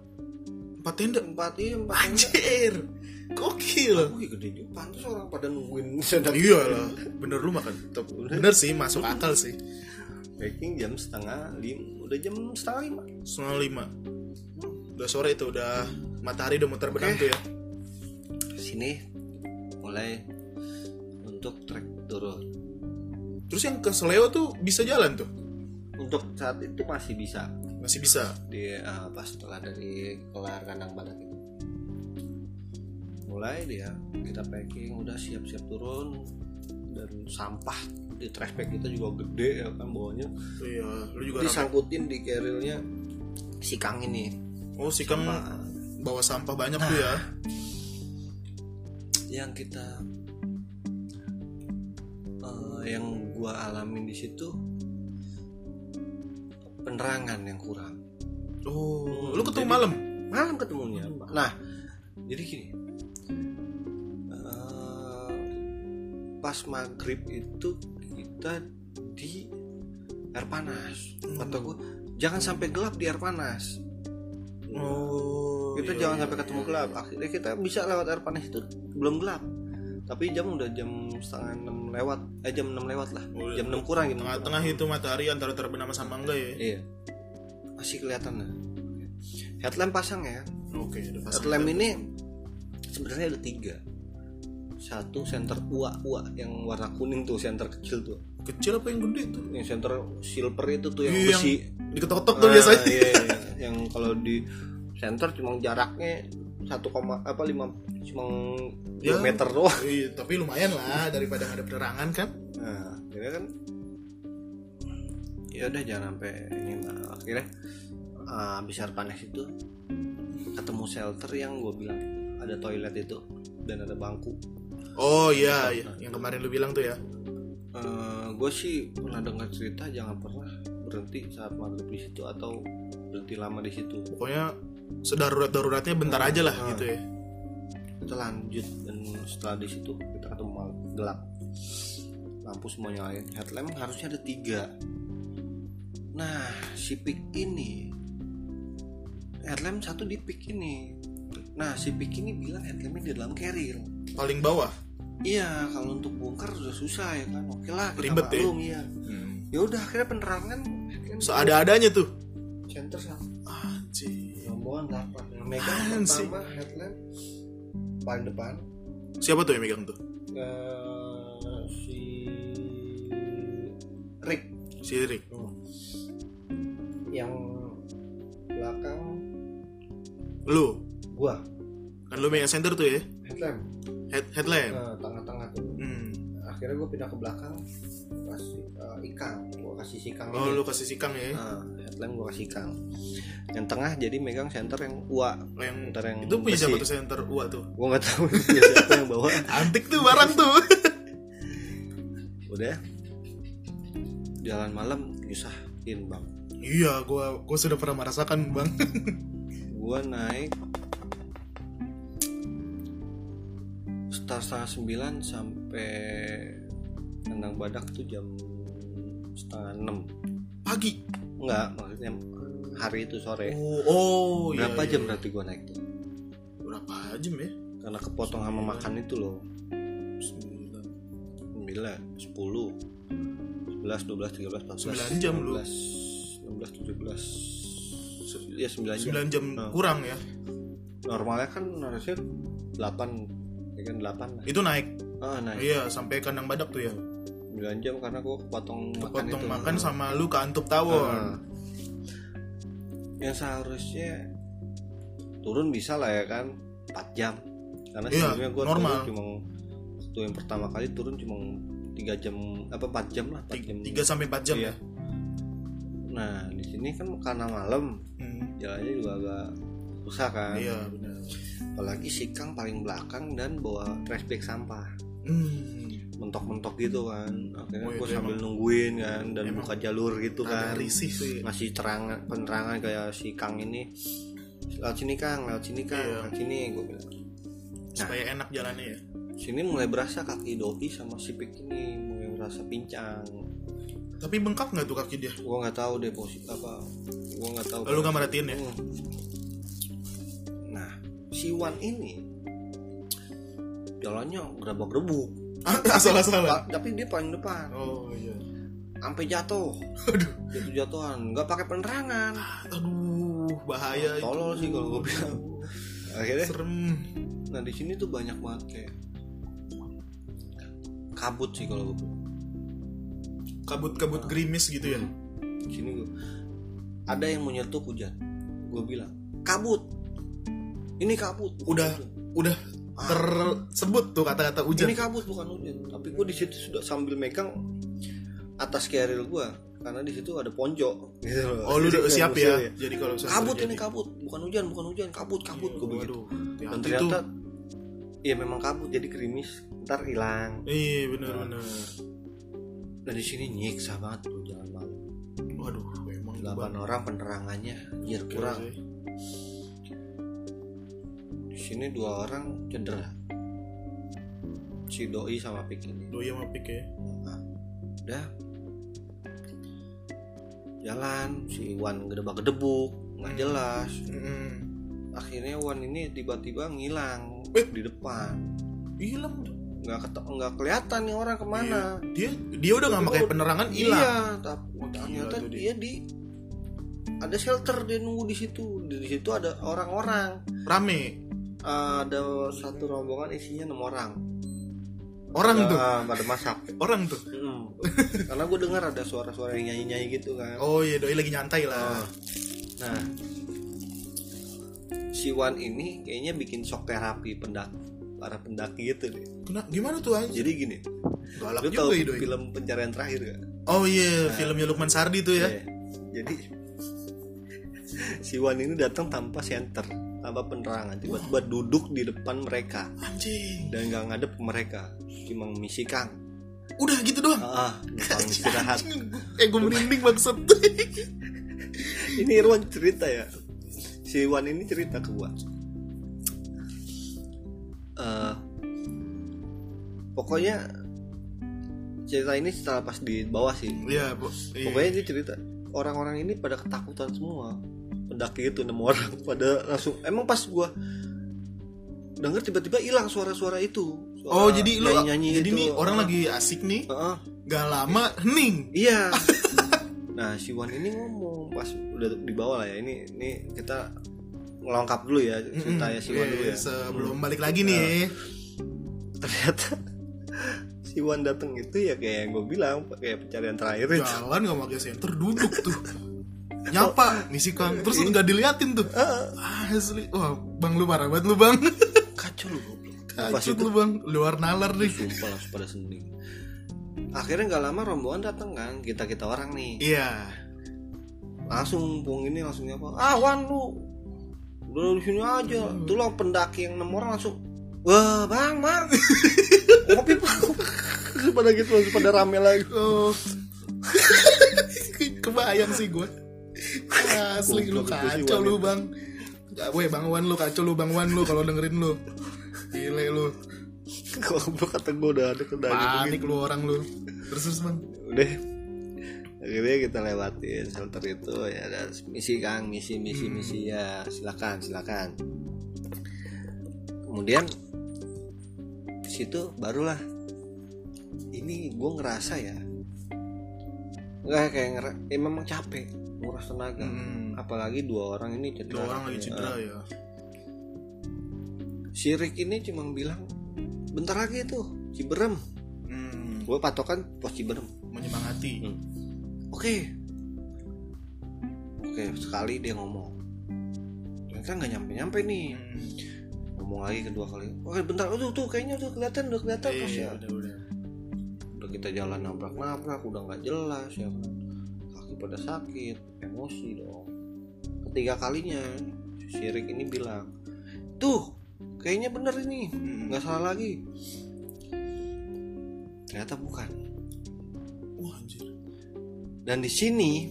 Empat tenda.
empat iya empat tenda.
Anjir. Gokil.
Wih gede juga, pantas orang pada nungguin tenda
Iya lah, bener lu makan. Top. Bener sih, masuk akal sih.
packing jam setengah lima, udah jam setengah lima.
Setengah lima. Udah sore itu, udah matahari udah muter benang tuh ya.
sini mulai untuk trek turun.
Terus yang ke Seleo tuh bisa jalan tuh?
Untuk saat itu masih bisa
Masih bisa.
di eh, pas setelah dari kelar kandang badak itu. Mulai dia kita packing udah siap-siap turun dan sampah di trash bag kita juga gede ya kan bawahnya
Iya, lu juga ramai.
disangkutin di kerilnya si Kang ini
Oh, si Kang
Nah,
bawa sampah banyak tuh ya.
yang kita eh, yang gua alamin di situ penerangan yang kurang
Oh, lu ketemu
Jadi-
malam?
malam ketemunya nah jadi gini eh, pas maghrib itu kita di air panas
Hmm.
kata gue jangan sampai gelap di air panas
Oh,
kita
iya,
jangan
iya,
sampai
iya.
ketemu gelap akhirnya kita bisa lewat air panas itu belum gelap tapi jam udah jam setengah enam lewat eh jam enam lewat lah
Oh,
jam enam kurang jam enam kurang.
Tengah-tengah itu matahari antara terbenam sama enggak ya?
iya masih kelihatan lah headlamp pasang ya
Oke, udah pasti.
headlamp ini sebenarnya ada tiga satu senter uak uak yang warna kuning tuh senter kecil tuh
Kecil apa yang gede tuh?
yang senter silver itu tuh yang
Iya, yang
besi Ah,
Ah, iya. Diketok-ketok tuh biasanya.
iya, iya. yang kalau di center cuma jaraknya satu koma apa lima cuma
Ya.
dua meter doang
Iya, tapi lumayan lah daripada ada penerangan kan.
nah akhirnya kan ya udah jangan sampai ini lah. akhirnya eh, habis air panas itu ketemu shelter yang gue bilang ada toilet itu dan ada bangku
Oh iya, iya. yang kemarin lu bilang tuh ya.
gue Eh, sih pernah dengar cerita jangan pernah berhenti saat maghrib di situ atau berhenti lama di situ
Pokoknya sedarurat daruratnya bentar aja lah gitu ya.
kita lanjut dan setelah di situ kita ketemu malam gelap lampu semua nyalain headlamp harusnya ada tiga nah si pick ini headlamp satu di pick ini nah si pick ini bilang headlampnya di dalam carrier
Paling bawah.
iya kalau untuk bongkar sudah susah ya kan oke lah kita
Ribet ya.
maklum ya
Hmm.
ya udah akhirnya penerangan headlamp
Seada-adanya tuh.
center sama
Anjir.
rombongan delapan yang megang
Apaan sih?
pertama headlamp paling depan
Siapa tuh yang megang tuh?
eh, si Rick
Si Rick.
yang belakang
Lu.
gua
Kan lu megang center tuh ya.
headlamp
Head headlamp.
eh, tengah-tengah tuh
Hmm.
akhirnya gua pindah ke belakang gua kasih eh, ikang gua kasih si ikang
Oh,
ini.
lu kasih sikang ya.
Nah, headlamp gua kasih ikang yang tengah jadi megang center yang ua
Oh, yang
center yang
itu punya siapa
besi.
tuh center Wah tuh.
gua nggak tahu punya siapa yang bawa
Antik tuh barang tuh.
udah jalan malam nyusahin bang
iya, gua gua sudah pernah merasakan, Bang.
gua naik sekitar setengah sembilan sampai kandang badak tuh jam setengah enam
Pagi.
enggak maksudnya hari itu sore
Oh, oh iya,
berapa
iya.
jam berarti gua naik tuh
Berapa jam ya?
karena kepotong sama makan itu loh
Sembilan.
9, 10 11, 12, 13, 14
Sembilan jam lu.
16, 16, 17 ya 9 jam
9 jam
Nah.
kurang ya.
normalnya kan harusnya 8 ya kan 8 lah
Itu naik.
ah naik
Iya, sampai kandang badak tuh ya.
9 jam karena gue kepotong makan
Potong
itu Ah,
makan
Nah,
sama lu ke Antep Tawon.
yang seharusnya turun bisa lah ya kan 4 jam karena
Iya,
sebelumnya gue
normal.
turun cuma waktu yang pertama kali turun cuma 3 jam apa 4 jam lah 4 jam
3 sampai 4 jam
Iya.
ya.
nah di sini kan karena malam
Hmm.
jalannya juga agak susah kan
Iya, benar.
apalagi sikang paling belakang dan bawa trash bag sampah
Hmm.
mentok-mentok gitu kan akhirnya
Oh,
gue
itu
sambil nungguin kan dan
emang
buka jalur gitu kan
Agak risih sih.
ngasih terangan penerangan kayak si Kang ini lewat sini Kang lewat sini Kang
Iya.
lewat sini gue bilang
Supaya enak jalannya ya.
sini mulai berasa kaki doi sama si Pik ini mulai berasa pincang
Tapi bengkak nggak tuh kaki dia?
gue nggak tahu deh posisi apa gue nggak tahu
Lalu nggak merhatiin ya?
Hmm. nah si Wan ini jalannya gerabak gerbuk
Asal-asalan.
tapi dia paling depan
Oh iya.
sampai jatuh
Aduh.
jatuh jatuhan nggak pakai penerangan
Aduh, bahaya itu.
Ah, tolol sih kalau gue bilang akhirnya
Serem.
nah di sini tuh banyak banget kayak kabut sih kalau gue bilang.
Kabut-kabut gerimis gitu ya.
di sini gue ada yang mau nyetuk hujan gue bilang kabut ini kabut bukan
Udah.
hujan.
Udah tersebut tuh kata-kata
Ah.
hujan.
ini kabut bukan hujan tapi gue di situ sudah sambil megang atas keril gue karena di situ ada ponco gitu loh.
Oh, lu
Jadi
udah
kayak
siap
musuh
ya. Jadi kalau misalnya
kabut
terjadi.
ini kabut bukan hujan bukan hujan kabut kabut gue begitu
Waduh.
dan
Hati-hati tuh.
ternyata ya memang kabut jadi gerimis ntar hilang
Iya, benar-benar.
dan Nah, di sini nyiksa banget tuh jalan malam
Waduh, emang tuh
delapan orang penerangannya anjir
Oke,
Iya, kurang
oke.
di sini dua orang cedera si doi sama pik ini
Doi sama Pik ya.
Nah, udah jalan si Iwan gedebak gedebuk nggak
Hmm.
jelas
Mm-mm.
akhirnya Iwan ini tiba-tiba ngilang
Eh.
di depan
Hilang.
nggak kete- nggak kelihatan nih orang kemana
Dia dia udah nggak pakai penerangan Iya. hilang.
iya tapi
Wah, gila
ternyata
tuh
dia di ada shelter dia nunggu di situ di situ ada orang-orang
Rame.
ada satu rombongan isinya enam orang
Orang tuh,
Ah, pada masak
orang tuh.
Mm. karena gue dengar ada suara-suara yang nyanyi-nyanyi gitu kan
Oh iya, doi lagi nyantai
Nah,
lah.
si nah, si Wan ini kayaknya bikin shock terapi pendak para pendaki gitu deh.
Kena, gimana tuh anjir?
Jadi gini,
Galak
lu Iya.
juga
tahu
Idoy.
film pencarian terakhir gak?
Oh iya, filmnya Lukman Sardi tuh ya.
Iya. Jadi si Wan ini datang tanpa senter, tanpa penerangan, tiba-tiba duduk di depan mereka
Anjing.
dan nggak ngadep ke mereka, cuma mengisi kang.
Udah gitu doang.
Ah, numpang istirahat. Iya,
Anjing, gua- Eh gue merinding maksud
ini Irwan cerita ya si Irwan ini cerita ke gua Eh, pokoknya cerita ini setelah pas di bawah sih
Iya, bos. Iya.
pokoknya dia cerita orang-orang ini pada ketakutan semua pendaki itu enam orang pada langsung emang pas gua denger tiba-tiba hilang suara-suara itu Suara
Oh jadi lu
nyanyi-nyanyi
jadi
itu.
nih orang lagi asik nih,
Heeh.
gak lama hening.
Iya. nah, si Wan ini ngomong pas udah di bawah lah ya. Ini ini kita ngelengkap dulu ya cerita ya si Wan
Iya,
dulu ya.
Sebelum balik lagi nih.
Ternyata si Wan dateng itu ya kayak yang gue bilang kayak pencarian terakhir itu.
Jalan gak pakai senter duduk tuh. Nyapa misi Kang, terus nggak diliatin tuh. Ah, Asli. Wah, Bang lu parah banget lu, Bang.
Kacau lu goblok. Nah, Pas
Kacau
itu
lu, Bang. Luar nalar nih.
sumpah langsung pada sendiri. Akhirnya nggak lama rombongan dateng kan kita kita orang nih
Iya.
langsung pung ini langsung apa ah Wan lu udah di sini aja tuh lo pendaki yang enam orang langsung wah bang bang kopi bang Terus pada gitu langsung pada rame lagi
Oh. Kebayang sih gue. Asli lu
Goblok itu sih,
kacau
Wan,
lu, Bang. Gak weh Bang Wan lu kacau lu Bang Wan lu kalau dengerin lu. Gile lu.
goblok kata gue udah ada kendali
panik lu orang lu terus terus bang
udah akhirnya kita lewatin shelter itu ya ada misi kang misi misi
Hmm.
misi ya silakan silakan kemudian di situ barulah ini gue ngerasa ya nggak kayak ngera ya memang capek nguras tenaga
Hmm.
apalagi dua orang ini cedera
dua orang lagi cedera ya
si Rick ini cuma bilang bentar lagi tuh Ciberem
hmm,
gue patokan pos Ciberem
menyemangati
Oke. Oke, sekali dia ngomong. Ternyata nggak nyampe-nyampe nih.
Hmm.
Ngomong lagi kedua kali. Oke, bentar. Oh, tuh, tuh kayaknya udah kelihatan, udah kelihatan
Iya,
Terus ya.
udah udah
Udah kita jalan nabrak-nabrak, udah nggak jelas ya. kan. Kaki pada sakit, emosi dong. Ketiga kalinya si Sirik ini bilang, "Tuh, kayaknya bener ini.
Hmm.
Nggak salah lagi." Ternyata bukan.
wah anjir
Dan di sini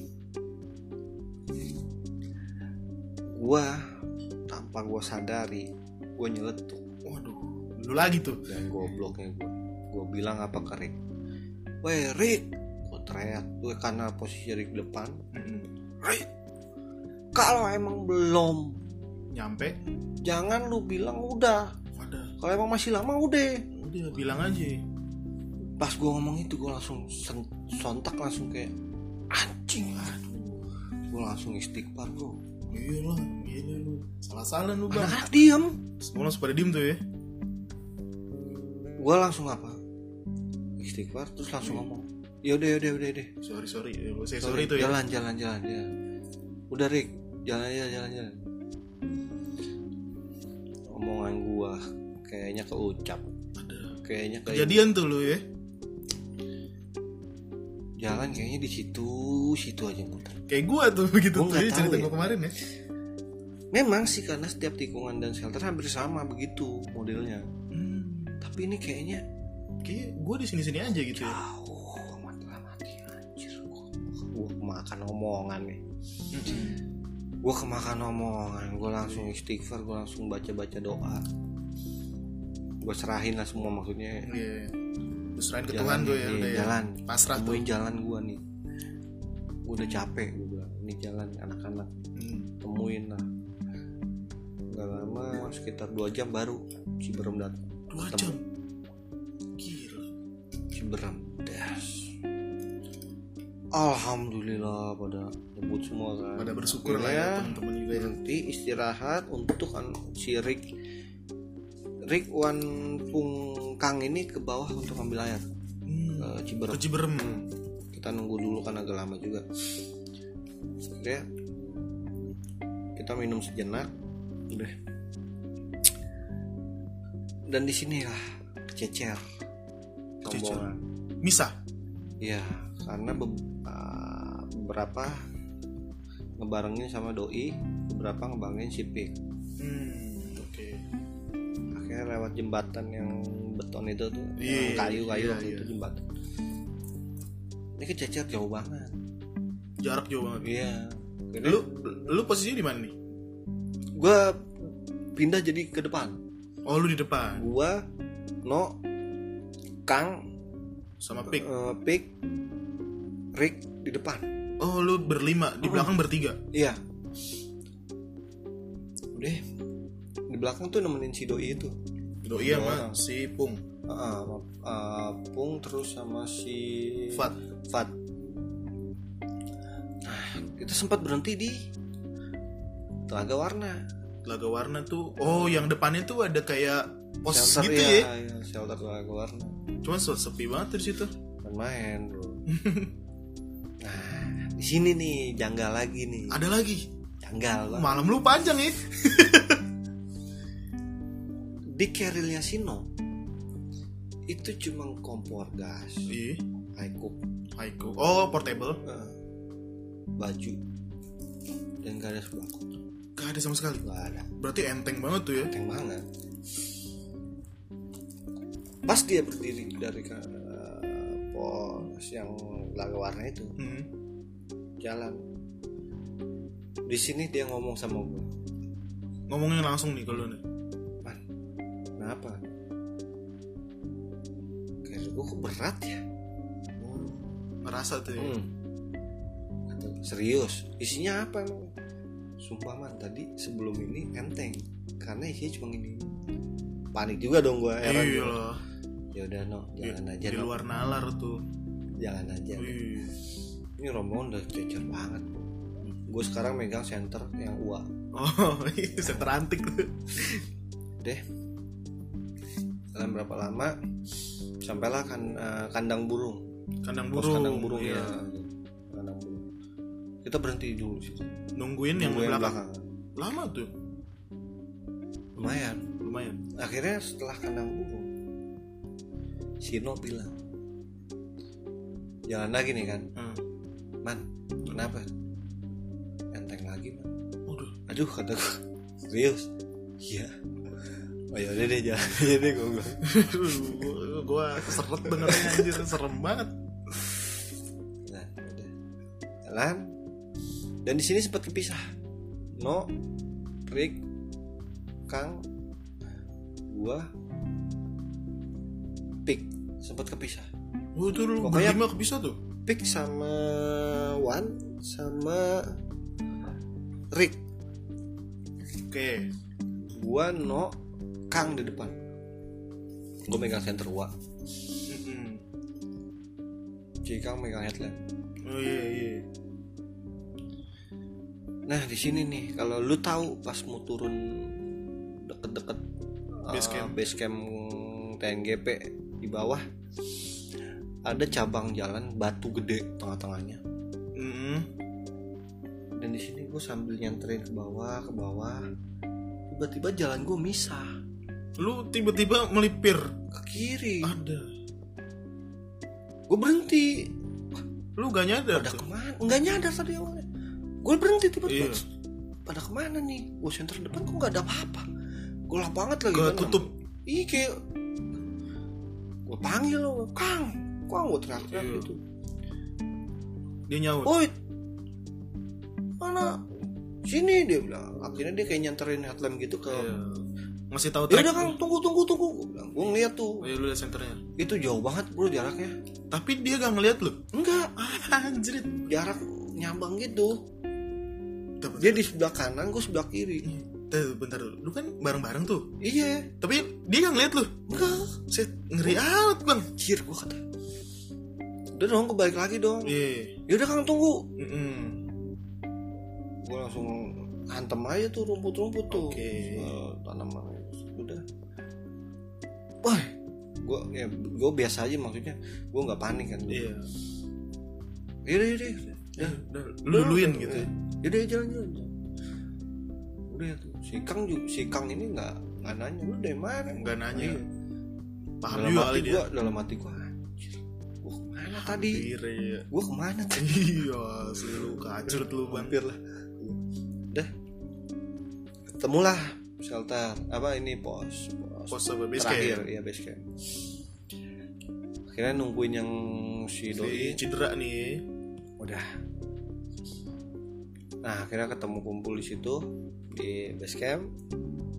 gua tanpa gua sadari gua nyeletuk
waduh lu lagi tuh
dan gobloknya gua. Gua bilang apa ke Rick? Weh Rick, gua teriak gue karena posisi Rick di depan. Rick, kalau emang belum
nyampe
jangan lu bilang udah.
wadah
Kalau emang masih lama udah.
udah bilang aja
Pas gua ngomong itu gua langsung sen- sontak langsung kayak anjing.
aduh
Gua langsung istighfar bro.
iya lah gila lu salah salah lu bang
Anak-anak diem.
semua langsung pada diem tuh ya
gue langsung apa istighfar terus langsung ngomong yaudah yaudah udah deh
sorry sorry Eh, gua say sorry, tuh ya
jalan jalan jalan ya udah Rick jalan aja jalan jalan omongan gua kayaknya keucap kayaknya kayak
kejadian tuh lu ya
jalan kayaknya di situ situ aja muter
kayak gua tuh begitu
Gua
tuh
nggak
ya, cerita
tahu ya.
gua kemarin ya
memang sih karena setiap tikungan dan shelter hampir sama begitu modelnya
hmm,
tapi ini kayaknya
kayak gua di sini sini aja gitu ya
Hmm. jauh amat mati anjir gua, gua makan omongan nih gue kemakan omongan gue langsung istighfar gue langsung baca baca doa gue serahin lah semua maksudnya
iya Lu serahin ke Tuhan
jalan
tuh
nih,
ya
nih,
udah ya
jalan
pasrah tuh
temuin jalan gue nih gue udah capek gue bilang ini jalan anak-anak
Hmm.
temuin lah nggak lama sekitar dua jam baru si berem datang
dua
Ketemu.
jam gila
si berem das alhamdulillah pada nyebut semua kan
pada bersyukur lah ya
Akhirnya,
teman-teman juga ya
berhenti istirahat untuk an- si Rick Rick Wan Pung Kang ini ke bawah untuk ambil air ke
hmm.
Ciberem.
ke Ciberem
Kita nunggu dulu kan agak lama juga. Oke. Kita minum sejenak. udah dan di sinilah kececer
Kececer.
rombongan
Misah.
Iya, karena be- uh, beberapa ngebarengin sama doi, beberapa ngebarengin si Pik.
Hmm, oke.
Akhirnya lewat jembatan yang beton itu tuh,
Iya,
yang kayu-kayu
iya,
waktu itu
iya.
jembatan. Ini kececer jauh banget.
Jarak jauh banget.
Iya. Akhirnya
Lu lu posisinya di mana nih?
gua pindah jadi ke depan.
Oh, lu di depan
Gua No Kang
sama
Pik,
Pik.
Pik Rick di depan.
Oh, lu berlima, di
Mm.
belakang bertiga.
Iya. Udah. Di belakang tuh nemenin si doi itu.
Doi sama
orang.
iya, si Pung,
Heeh, sama, eh, Pung terus sama si
Fat.
Fat. Nah, kita sempat berhenti di telaga warna.
Telaga warna tuh. Oh, yang depannya tuh ada kayak pos
Shelter,
gitu
iya,
ya.
iya, shelter telaga warna.
Cuman so- sepi banget tuh di situ.
Main-main, bro. nah, di sini nih janggal lagi nih.
Ada lagi.
Janggal banget.
Malam lu panjang ya.
Di kerilnya Sino itu cuma kompor gas,
Iya.
high cook,
Haiku. Oh, portable.
eh, baju dan gak ada sembako
Gak ada sama sekali.
gak ada
Berarti enteng banget tuh ya.
enteng banget pas dia berdiri dari ke eh, pos yang laga warna itu
Hmm.
jalan di sini dia ngomong sama gue
Ngomongin langsung nih kalau nih.
kenapa kayak gue kok berat ya
Ngerasa tuh ya.
Hmm. Kata, serius isinya apa emang sumpah man tadi sebelum ini enteng karena isinya cuma gini panik juga dong gue heran
Iya
gua.
lah.
ya udah no jalan aja
Di
no
luar Iya. nalar tuh.
jalan aja
Wih.
ini rombongan udah cecer banget gue sekarang megang center yang UA
Oh, itu saya terantik tuh.
deh dalam berapa lama sampailah kan eh, kandang burung
Kandang
pos
burung.
kandang burung
Iya.
ya kandang burung kita berhenti dulu di situ
Nungguin yang
Nungguin
belakang. Lama tuh.
lumayan
Lumayan.
akhirnya setelah kandang burung Sino bilang jalan lagi nih kan
Hmm.
man kenapa enteng lagi man
Waduh.
aduh kata gue serius iya oh yaudah deh jalan aja deh gue bilang.
Gua- gua seret dengernya anjir serem banget
Nah, udah. jalan dan di sini sempat kepisah no Rick Kang gua Pik sempat kepisah
Wah itu lu
Pokoknya-
berlima bisa tuh
Pik sama Wan sama Rick
Oke
gua no Kang di depan gua megang center gua
Mm-mm.
si Kang megang headlamp
Oh iya iya
nah di sini nih kalau lu tahu pas mau turun deket-deket uh,
Base camp.
base camp TNGP di bawah ada cabang jalan batu gede tengah-tengahnya
Mm-mm.
dan di sini gua sambil nyanterin ke bawah ke bawah tiba-tiba jalan gua misah
Lu tiba-tiba melipir
ke kiri
Ada
gue berhenti
Lu gak nyadar
pada
tuh?
kemana nggak nyadar tadi awalnya gue berhenti tiba-tiba
Iya.
pada kemana nih gue center depan kok nggak ada apa-apa gelap banget lagi
Gak
kan.
tutup
ih kayak gue panggil lo kang kang gue teriak-teriak
Iya.
gitu
Dia nyaut
woi mana sini dia bilang akhirnya dia kayak nyanterin headlamp gitu ke
Iya. Ngasih tahu
ya
track
udah kang tunggu tunggu tunggu gue bilang gue ngeliat
Oh,
tuh
iya, lu liat senternya
itu jauh banget bro jaraknya
Tapi dia gak ngeliat lu
enggak
Anjir
jarak nyambang gitu dia di sebelah kanan gue sebelah kiri
Tuh, bentar dulu Lu kan bareng-bareng tuh
iya
Tapi dia gak ngeliat lu
enggak
Set, ngeri
Oh.
amat bang
Anjir gue kata Udah dong gue balik lagi dong
Iya
Yaudah Kang tunggu
Mm-mm.
Gue langsung hantem aja tuh rumput-rumput tuh
Oke.
Eh, Tanaman Udah Wah Gue ya, gua biasa aja maksudnya Gue gak panik kan
Iya
Yaudah yaudah
Udah, Lu duluin gitu ya
Yaudah jalan-jalan udah tuh si Kang juga si Kang ini nggak nggak nanya lu dari mana
Nggak nanya.
Iya.
paham
dalam
juga
hati
kali dia
gua dalam hati gua anjir gua kemana tadi
Diri, iya.
gua kemana tadi
iya asli lu kacrut lu bang
mampir lah udah ketemulah shelter apa ini pos pos,
pos apa base
terakhir
camp?
ya base camp akhirnya nungguin yang si
si
doi
cedera nih
udah nah akhirnya ketemu kumpul di situ di base camp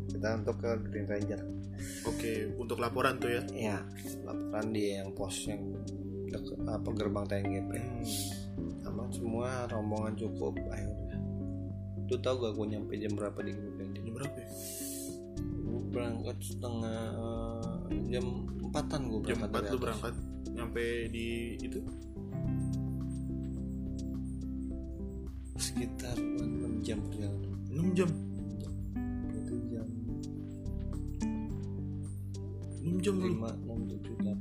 kita untuk ke Green Ranger
oke untuk laporan tuh ya
ya laporan di yang pos yang deket apa gerbang TNGP
Hmm,
aman semua rombongan cukup ayo udah lu tau gak gue nyampe jam berapa di Green Ranger
jam berapa ya?
gue berangkat setengah eh, jam empatan gue
jam
berangkat
empat
dari
lu
atas.
berangkat nyampe di itu
sekitar 6 jam ya. perjalanan
6 jam
itu jam
6 jam lu
5, 6,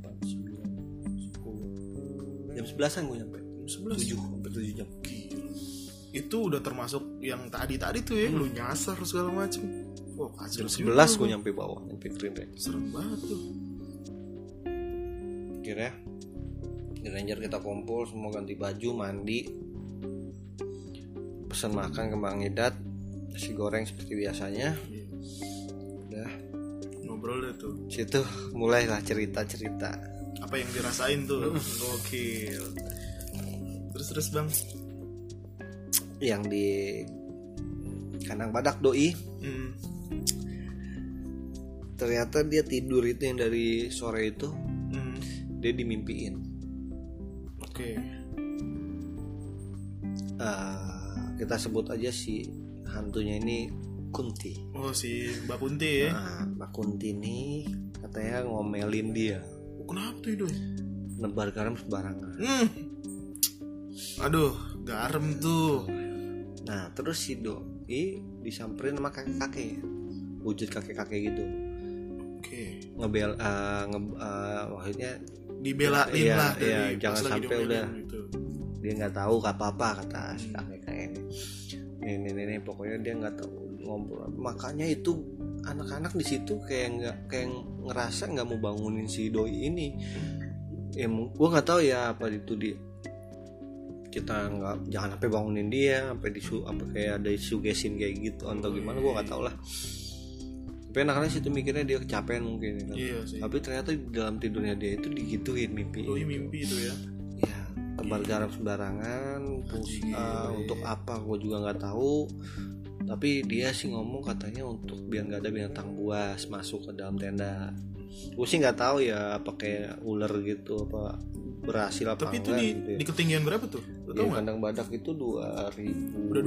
7, 8, 9, 10 jam 11an gue nyampe
Sebelas.
7, hampir 7 jam
itu udah termasuk yang tadi tadi tuh ya lu nyasar segala macem wah
Hmm.
kacau
jam
juga
11 gue
lu.
nyampe bawah nyampe Green Ranger
serem banget tuh
akhirnya Green Ranger kita kumpul semua ganti baju mandi pesan makan kembang edat nasi goreng seperti biasanya
Iya,
udah
ngobrol deh tuh
situ mulailah cerita cerita
apa yang dirasain tuh
Hmm.
gokil terus terus bang
yang di kandang badak doi
hmm.
ternyata dia tidur itu yang dari sore itu
hmm.
dia dimimpiin
oke
Eh, kita sebut aja si hantunya ini Kunti
oh si mbak Kunti ya
nah, Mbak Kunti ini katanya ngomelin dia
Oh, kenapa tuh itu
nebar garam sembarangan
hmm. aduh garam tuh
Nah terus si doi disamperin sama kakek-kakek Wujud kakek-kakek gitu
oke
Ngebel, eh, nge- eh, Maksudnya
dibelain
Iya,
lah
iya,
dari pas
jangan
lagi
sampai
diomelin
udah.
gitu.
dia nggak tahu gak apa-apa kata si kakek-kakek ini Ini, ini, ini, pokoknya dia nggak tahu ngobrol Makanya itu anak-anak di situ kayak nggak kayak ngerasa nggak mau bangunin si doi ini ya mu- gua nggak tahu ya apa itu dia kita nggak jangan sampai bangunin dia sampai disu apa kayak ada disugesin kayak gitu atau gimana gua nggak tahu lah tapi anak-anak situ mikirnya dia kecapean mungkin ya kan.
iya sih
tapi ternyata di dalam tidurnya dia itu digituin mimpi
doi mimpi itu ya
ya
Iya.
tebar garam sembarangan terus,
Anjir.
eh, untuk
iya.
apa gue juga nggak tahu tapi dia sih ngomong katanya untuk biar nggak ada binatang buas masuk ke dalam tenda gue sih nggak tahu ya apa kayak ular gitu apa berhasil apa
tapi itu
enggak
di,
gitu ya.
di ketinggian berapa tuh lu
Ya,
tau nggak
kandang badak itu dua ribu
Udah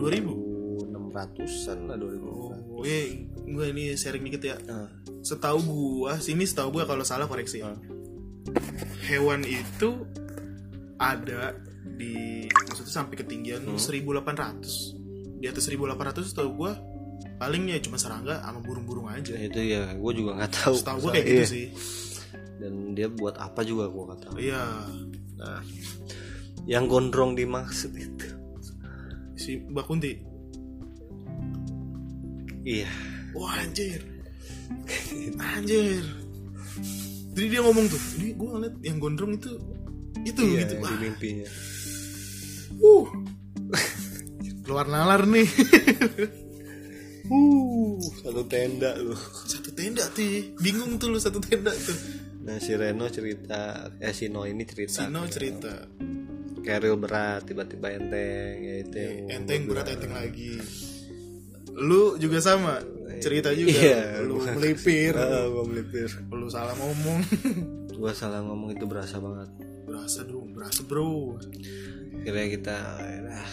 2000?
enam ratusan lah dua ribu
oh eh gue ini sharing dikit ya
nah,
setahu gua sini setahu gua kalau salah koreksi
Ah.
hewan itu ada di maksudnya sampai ketinggian
Hmm.
1800 di atas 1800 setahu gua palingnya cuma serangga sama burung-burung aja
itu ya gue juga nggak tahu
setahu gua kayak gitu
Iya.
sih
dan dia buat apa juga gue nggak tahu
iya
nah yang gondrong dimaksud itu
si Mbak Kunti
iya
wah anjir anjir jadi dia ngomong tuh ini gua ngeliat yang gondrong itu itu
iya,
gitu
yang
wah
di mimpinya
Uh. Keluar nalar nih.
uh satu tenda lu
satu tenda tuh. ya. Bingung tuh lu satu tenda tuh.
nah si Reno cerita eh si No ini cerita
Sino cerita.
Keril berat tiba-tiba enteng ya itu yang
Enteng berat enteng lagi. Lu juga sama. Cerita juga.
Iya.
Lu melipir.
Ah, gua melipir
Lu salah ngomong.
gua salah ngomong itu berasa banget
berasa dong, berasa bro.
akhirnya kita ah,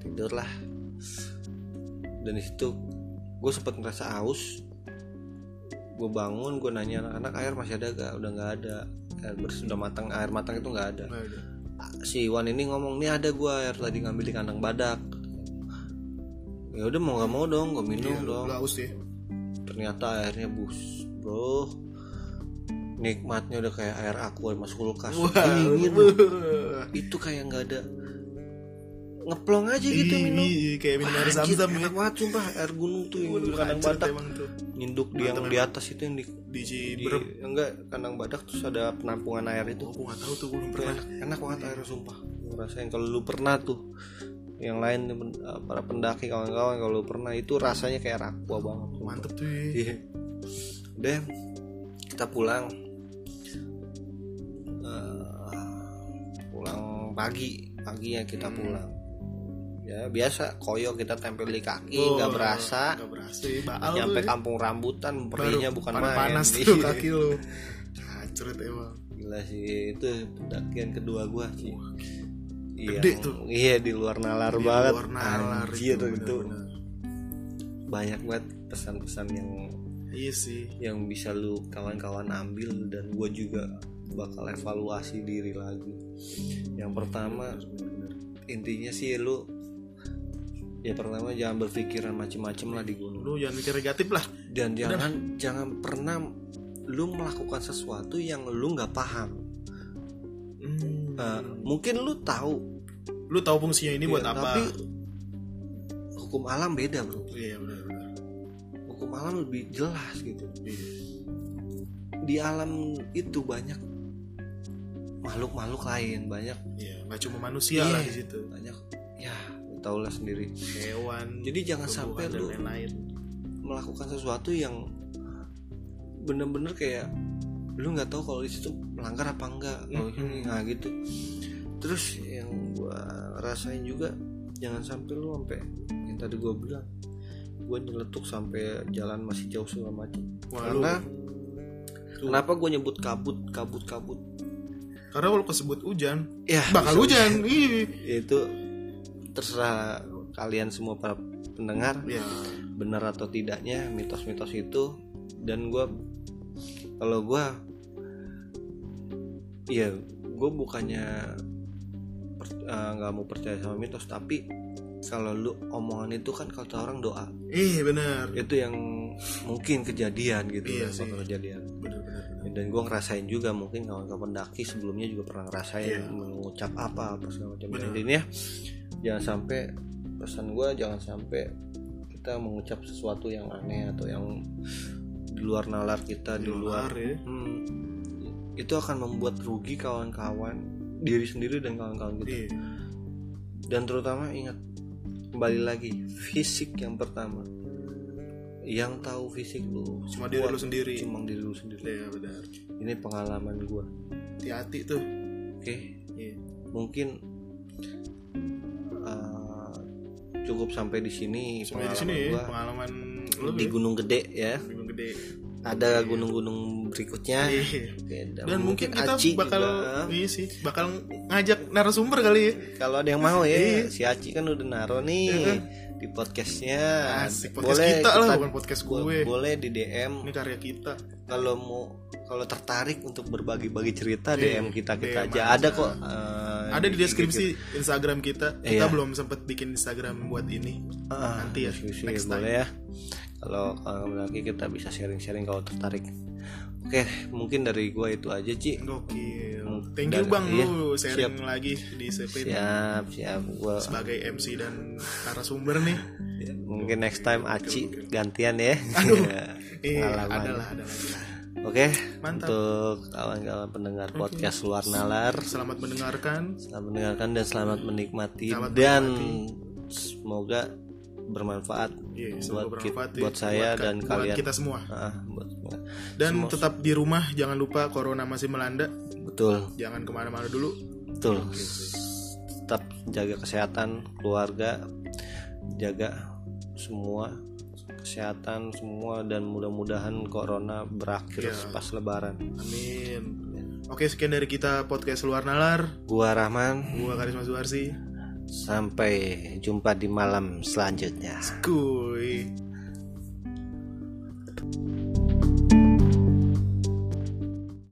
tidur lah dan di situ gue sempat ngerasa haus gue bangun gue nanya anak-anak air masih ada gak udah nggak ada air bersih udah matang air matang itu nggak ada
Nggak ada.
si Iwan ini ngomong nih ada gue air tadi ngambil di kandang badak ya udah mau nggak mau dong gue minum
Iya,
dong
lu haus ya.
ternyata airnya bus bro nikmatnya udah kayak air aqua masuk kulkas
Wah,
Dingin
lu-
itu kayak nggak ada ngeplong aja gitu
Ih,
minum
ih, iya, kayak minum air
Anjir,
zam-zam gitu. ya.
enak banget sumpah air gunung tuh yang di kandang
Hancur
badak
emang tuh.
nyinduk di yang di atas itu yang di,
di
di
Cibrem
enggak kandang badak terus ada penampungan air itu
oh, aku nggak tahu tuh gue belum pernah Iya.
enak, enak banget air sumpah ngerasain kalau lu pernah tuh yang lain pen- eh, para pendaki kawan-kawan kalau lu pernah itu rasanya kayak rakwa banget sumpah.
mantep tuh ya.
Iya. Udah kita pulang. Eh, pulang pagi, paginya kita
Hmm.
pulang. Ya biasa koyo kita tempel di kaki
Oh,
Iya, nggak berasa.
nggak berasa ya baal
Nyampe
tuh ya.
kampung rambutan perinya bukan
panas,
main. iya.
panas tuh kaki lu hancur emang
Gila sih itu pendakian kedua gua sih. Iya,
Gede tuh.
Iya di luar nalar
Di
banget.
luar nalar
Anjir, itu,
bener-bener.
banyak banget pesan-pesan yang
iya sih
yang bisa lu kawan-kawan ambil dan gue juga bakal evaluasi diri lagi. Yang pertama intinya sih lu ya pertama jangan berpikiran macem-macem lah di gunung
lu jangan mikir negatif lah
dan jangan jangan pernah lu melakukan sesuatu yang lu nggak paham.
Hmm.
Eh, mungkin lu tahu
lu tahu fungsinya ini
ya,
buat apa
tapi hukum alam beda bro.
iya benar-benar
Hukum alam lebih jelas gitu.
Iya.
Di alam itu banyak makhluk-makhluk lain banyak
iya nggak cuma manusia
Iya.
lah di situ
banyak ya lu tau lah sendiri
hewan
jadi jangan sampai
tumbuhan, dan
lu
lain-lain
melakukan sesuatu yang bener-bener kayak lu nggak tahu kalau di situ melanggar apa enggak kalau
Mhm.
ini nah gitu terus yang gua rasain juga jangan sampai lu sampai yang tadi gua bilang gua nyeletuk sampai jalan masih jauh segala macam
Wah, lu-
karena
Tuh.
kenapa gua nyebut kabut kabut kabut
karena kalau kesebut hujan
ya
bakal
bisa-
hujan iya
itu terserah kalian semua para pendengar
ya
benar atau tidaknya mitos-mitos itu dan gue kalau gue ya gue bukannya per- eh, nggak mau percaya sama mitos tapi kalau lu omongan itu kan kata orang doa
eh benar
itu yang mungkin kejadian gitu
Iya
yang
sih.
bakal kejadian
benar-benar
Ya, dan gue ngerasain juga mungkin kawan-kawan pendaki sebelumnya juga pernah ngerasain
Iya.
mengucap apa apa segala macam
Benar.
intinya jangan sampai pesan gue jangan sampai kita mengucap sesuatu yang aneh atau yang di luar nalar kita di luar
ya
Hmm. itu akan membuat rugi kawan-kawan diri sendiri dan kawan-kawan kita
iya
dan terutama ingat kembali lagi fisik yang pertama yang tahu fisik lu
cuma diri lu
kuat,
sendiri
cuma diri lu sendiri
iya benar
ini pengalaman gue
hati-hati tuh
Oke,
Iya.
mungkin uh, cukup sampai di sini.
Sampai di
pengalaman
sini ya,
gua.
pengalaman lu
di
ya,
Gunung Gede ya.
di Gunung Gede.
Ada
Iya.
gunung-gunung berikutnya.
Iya.
Oke,
Dan mungkin kita
Aci
bakal
juga.
iya sih, bakal ngajak narasumber kali ya.
kalau ada yang mau ya,
Iya.
si Aci kan udah naro nih
Iya kan?
di podcastnya.
Asik podcast kita lah, bukan podcast
bo-
gue.
boleh di DM
Ini karya kita.
kalau mau kalau tertarik untuk berbagi-bagi cerita
Iya,
DM kita kita
DM
aja.
aja.
Ada kok. uh,
Ada di
IG
deskripsi Instagram kita. Kita
Iya.
belum sempet bikin Instagram buat ini.
Ah,
Nanti ya,
diskusi
next time.
boleh ya. Kalau kalau lagi kita bisa sharing-sharing kalau tertarik. Oke, mungkin dari gua itu aja, Ci.
Gokil. Thank you Bang
Iya,
lu sharing lagi di Sepin
Siap, siap. Gua
sebagai MC dan narasumber nih.
mungkin next time Aci gantian ya.
Eh,
Pengalaman.
ada lah, ada lagi lah.
Oke,
Mantap.
untuk kawan-kawan pendengar podcast luar nalar,
Selamat mendengarkan.
selamat mendengarkan dan selamat menikmati
Selamat
dan semoga bermanfaat
Iya,
buat
semoga
ki-
bermanfaat ya.
buat saya
Buat ka-
dan
buat
kalian.
kita semua.
Ah, buat semua.
Dan tetap di rumah, jangan lupa corona masih melanda.
Betul.
Jangan kemana-mana dulu.
Betul. Tetap jaga kesehatan keluarga, jaga semua kesehatan semua dan mudah-mudahan corona berakhir
Ya.
pas lebaran.
Amin.
Ya.
Oke, sekian dari kita podcast luar nalar.
Gua Rahman,
Gua Karisma Suharsi.
sampai jumpa di malam selanjutnya.
Kuy.